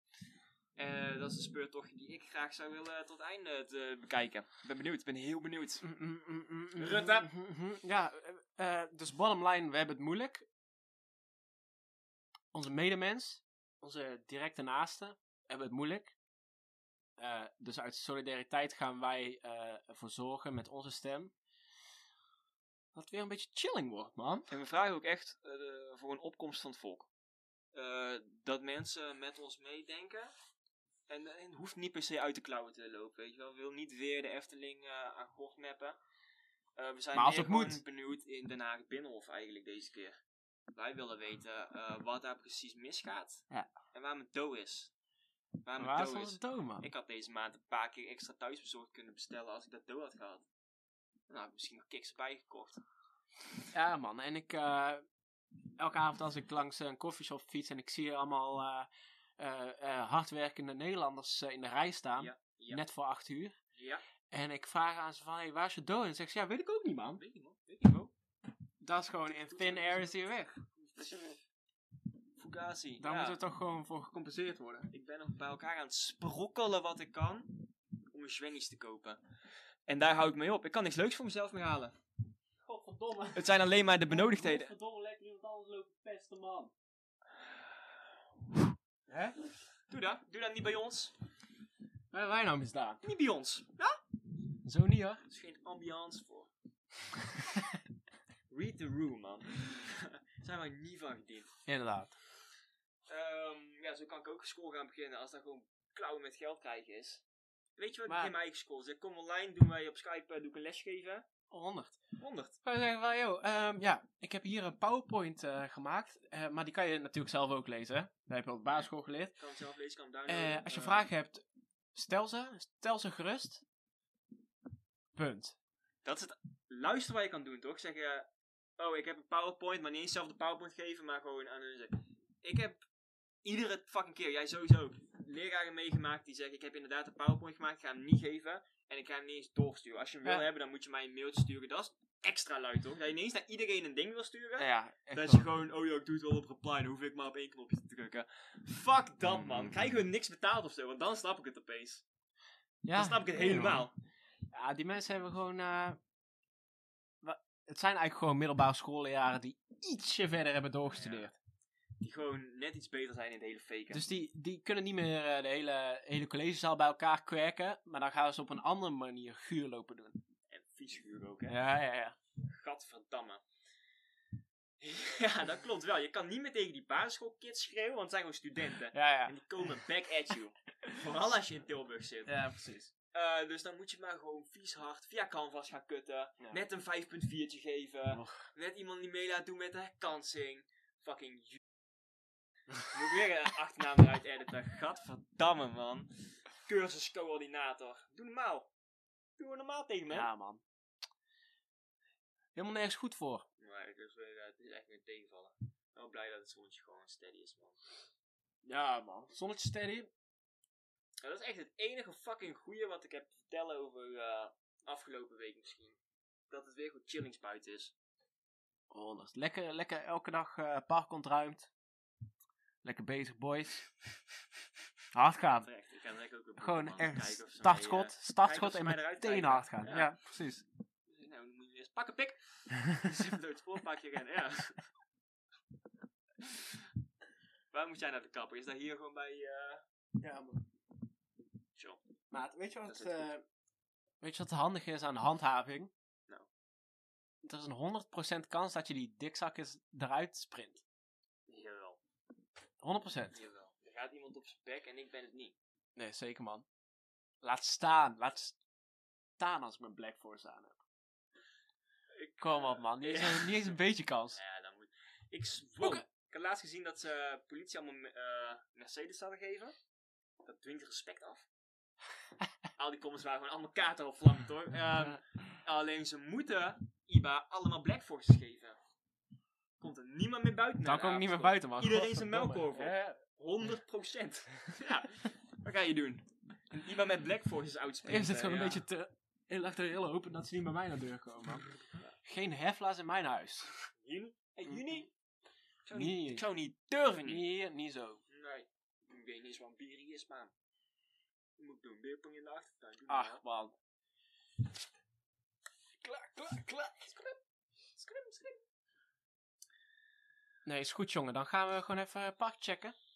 Speaker 1: Eh, dat is een speurtocht die ik graag zou willen eh, tot einde te bekijken. Ik ben benieuwd, ik ben heel benieuwd.
Speaker 3: Mm, mm, mm, mm, mm,
Speaker 1: Rutte.
Speaker 3: mm, mm, mm. Ja, eh, eh, dus bottom line, we hebben het moeilijk. Onze medemens, onze directe naasten, hebben het moeilijk. Eh, dus uit solidariteit gaan wij eh ervoor zorgen met onze stem. Dat het weer een beetje chilling wordt, man.
Speaker 1: En we vragen ook echt eh, voor een opkomst van het volk. Eh, dat mensen met ons meedenken. En, en het hoeft niet per se uit de klauwen te lopen, weet je wel. Ik wil niet weer de Efteling eh, aan gort meppen. Eh, we zijn
Speaker 4: Maar als
Speaker 1: meer
Speaker 4: het moet.
Speaker 1: gewoon benieuwd in Den Haag Binnenhof eigenlijk deze keer. Wij willen weten eh, wat daar precies misgaat.
Speaker 3: Ja.
Speaker 1: En waar mijn dood is. Waar mijn
Speaker 3: Waar is
Speaker 1: dood
Speaker 3: onze
Speaker 1: is.
Speaker 3: dood, man?
Speaker 1: Ik had deze maand een paar keer extra thuisbezorgd kunnen bestellen als ik dat dood had gehad. Dan had ik misschien nog kiks erbij gekocht.
Speaker 3: Ja, man. En ik, eh, elke avond als ik langs een koffieshop fiets en ik zie allemaal eh, eh, eh, hardwerkende Nederlanders eh, in de rij staan,
Speaker 1: Ja, ja.
Speaker 3: net voor acht uur.
Speaker 1: Ja,
Speaker 3: En ik vraag aan ze van, hey, waar is je dood? En ze zegt, ze, ja, weet ik ook niet, man.
Speaker 1: weet je man. Weet je wel.
Speaker 3: Dat is gewoon, in thin air is hier weg.
Speaker 1: Fugazi.
Speaker 3: Daar
Speaker 1: ja.
Speaker 3: moet er toch gewoon voor gecompenseerd worden.
Speaker 1: Ik ben nog bij elkaar aan het sprokkelen wat ik kan om een Schwennies te kopen. En daar hou ik mee op. Ik kan niks leuks voor mezelf meer halen.
Speaker 4: Godverdomme.
Speaker 1: Het zijn alleen maar de benodigdheden.
Speaker 4: Godverdomme, lekker iemand anders lopen pesten, man.
Speaker 1: Doe dat. Doe dat niet bij ons.
Speaker 3: Waar hebben wij nou misdaan?
Speaker 1: Niet bij ons. Ja?
Speaker 3: Zo niet, hoor.
Speaker 1: Er is geen ambiance
Speaker 3: [LAUGHS]
Speaker 1: voor. Read the room, man. [LAUGHS] Daar zijn wij niet van gediend.
Speaker 3: Inderdaad.
Speaker 1: Ehm, ja, zo kan ik ook school gaan beginnen als dat gewoon klauwen met geld krijgen is. Weet je wat
Speaker 3: Maar-
Speaker 1: ik in mijn eigen school zeg? Kom online, doen wij op Skype, eh, doe ik een les geven.
Speaker 3: 100.
Speaker 1: 100.
Speaker 3: Ik zou zeggen van, joh, ehm, ja, ik heb hier een PowerPoint eh, gemaakt. eh, maar die kan je natuurlijk zelf ook lezen. hè. Dat heb je op de basisschool geleerd.
Speaker 1: Kan het zelf lezen, kan het
Speaker 3: Eh,
Speaker 1: downloaden.
Speaker 3: als je
Speaker 1: Eh,
Speaker 3: vragen hebt, stel ze. Stel ze gerust. Punt.
Speaker 1: Dat is het luisteren wat je kan doen, toch? Zeggen, oh, ik heb een PowerPoint, maar niet eens zelf de PowerPoint geven, maar gewoon aan hun zeggen. Ik heb iedere fucking keer, jij sowieso, leraren meegemaakt die zeggen, ik heb inderdaad een PowerPoint gemaakt, ik ga hem niet geven en ik ga hem niet eens doorsturen. Als je hem
Speaker 3: Ja.
Speaker 1: wil hebben, dan moet je mij een mailtje sturen. Dat is extra luid, toch? Dat je ineens naar iedereen een ding wil sturen.
Speaker 3: ja,
Speaker 1: Dat je gewoon, oh ja, ik doe het wel op reply, dan hoef ik maar op één knopje te drukken. Fuck dat, man. Krijgen we niks betaald of zo? Want dan snap ik het opeens. Dan snap ik het helemaal.
Speaker 3: Ja, die mensen hebben gewoon... eh, wa- het zijn eigenlijk gewoon middelbare schoolleraren die ietsje verder hebben doorgestudeerd.
Speaker 1: Die gewoon net iets beter zijn in het hele faken.
Speaker 3: Dus die, die kunnen niet meer eh, de hele, hele collegezaal bij elkaar kwerken. Maar dan gaan ze op een andere manier guur lopen doen.
Speaker 1: En viesguur ook, hè?
Speaker 3: Ja, ja, ja.
Speaker 1: Gadverdamme. [LAUGHS] Ja, dat klopt wel. Je kan niet meer tegen die basisschoolkids schreeuwen, want het zijn gewoon studenten.
Speaker 3: ja, ja.
Speaker 1: En die komen back at you. Vooral als je in Tilburg zit.
Speaker 3: Ja, precies.
Speaker 1: Eh, dus dan moet je maar gewoon vies hard via Canvas gaan kutten.
Speaker 3: Ja.
Speaker 1: Net een 5.4'tje geven.
Speaker 3: Och.
Speaker 1: Net iemand die mee laat doen met de herkansing. Fucking
Speaker 3: [LAUGHS]
Speaker 1: ju- Moet ik weer een achternaam eruit editen. Gadverdamme, man. Cursuscoördinator. Doe normaal. Doe normaal tegen me.
Speaker 3: Ja, man. Helemaal nergens goed voor.
Speaker 1: Maar het is, weer, eh, het is echt weer tegenvallen. Ik ben wel blij dat het zonnetje gewoon steady is, man.
Speaker 3: Ja, man. Zonnetje steady.
Speaker 1: Ja, dat is echt het enige fucking goeie wat ik heb te vertellen over eh, afgelopen week misschien. Dat het weer goed chillings buiten is.
Speaker 3: Honderd. Oh, Lekker, lekker elke dag eh park ontruimd. Lekker bezig, [LAUGHS] boys. Hard gaan.
Speaker 1: Terecht, ik ga direct ook weer
Speaker 3: Gewoon
Speaker 1: Pokémon
Speaker 3: echt
Speaker 1: kijken of ze mij,
Speaker 3: startschot,
Speaker 1: eh,
Speaker 3: startschot
Speaker 1: ze
Speaker 3: en
Speaker 1: mij eruit
Speaker 3: meteen
Speaker 1: krijgen.
Speaker 3: hard gaan.
Speaker 1: Ja.
Speaker 3: Ja,
Speaker 1: [LAUGHS]
Speaker 3: precies.
Speaker 1: nou, dan moet je eerst pakken, pik. [LAUGHS] Zit door het spoorpakje rennen, ja. [LAUGHS] Waar moet jij naar de kapper? Is dat hier gewoon bij... eh
Speaker 3: Ja, man.
Speaker 1: John?
Speaker 3: Maat, weet je
Speaker 1: Dat
Speaker 3: wat,
Speaker 1: zit goed.
Speaker 3: eh, weet je wat handig is aan handhaving?
Speaker 1: Nou.
Speaker 3: Er is een 100% kans dat je die dikzakjes eruit sprint.
Speaker 1: Jawel,
Speaker 3: 100%.
Speaker 1: jawel. Er gaat iemand op zijn bek en ik ben het niet.
Speaker 3: Nee, zeker man. Laat staan. Laat staan als ik mijn Black Force aan heb. Kom op man, niet, eens
Speaker 1: Ja.
Speaker 3: een- niet eens een beetje
Speaker 1: [LAUGHS]
Speaker 3: kans.
Speaker 1: Ja, dan moet. Ik zwom. Ik heb laatst gezien dat ze politie allemaal me- eh, Mercedes hadden gegeven. Dat dwingt respect
Speaker 3: [LAUGHS]
Speaker 1: af. Al die comments waren gewoon allemaal kaarten op vlam, hoor. Ehm, alleen ze moeten IBA allemaal Black Forces geven. Komt er niemand meer buiten. na
Speaker 3: Dan
Speaker 1: de
Speaker 3: kom ik niet meer
Speaker 1: avondschool.
Speaker 3: buiten man.
Speaker 1: Iedereen zijn
Speaker 3: [LAUGHS] Godverdomme.
Speaker 1: melkorvel.
Speaker 3: Ja.
Speaker 1: 100
Speaker 3: [LAUGHS]
Speaker 1: ja, wat ga je doen? Een IBA met Black Forces uitspelen.
Speaker 3: Eerst zit gewoon
Speaker 1: ja.
Speaker 3: een beetje te... Heel erg de hele open dat ze niet bij mij naar de deur komen man. Geen hefla's in mijn huis.
Speaker 1: Juni? Hey, juni? Ik zou niet,
Speaker 3: Nee,
Speaker 1: ik zou niet durven. niet.
Speaker 3: nee, niet zo.
Speaker 1: Nee, ik weet niet eens wat een bier is, man. Je moet doen, beerpong in de achtertuin. Doe
Speaker 3: Ach
Speaker 1: maar.
Speaker 3: man.
Speaker 1: klaar, klaar, klaar. Skrim, skrim, skrim.
Speaker 3: Nee, is goed jongen. Dan gaan we gewoon even het park checken.
Speaker 1: Nou,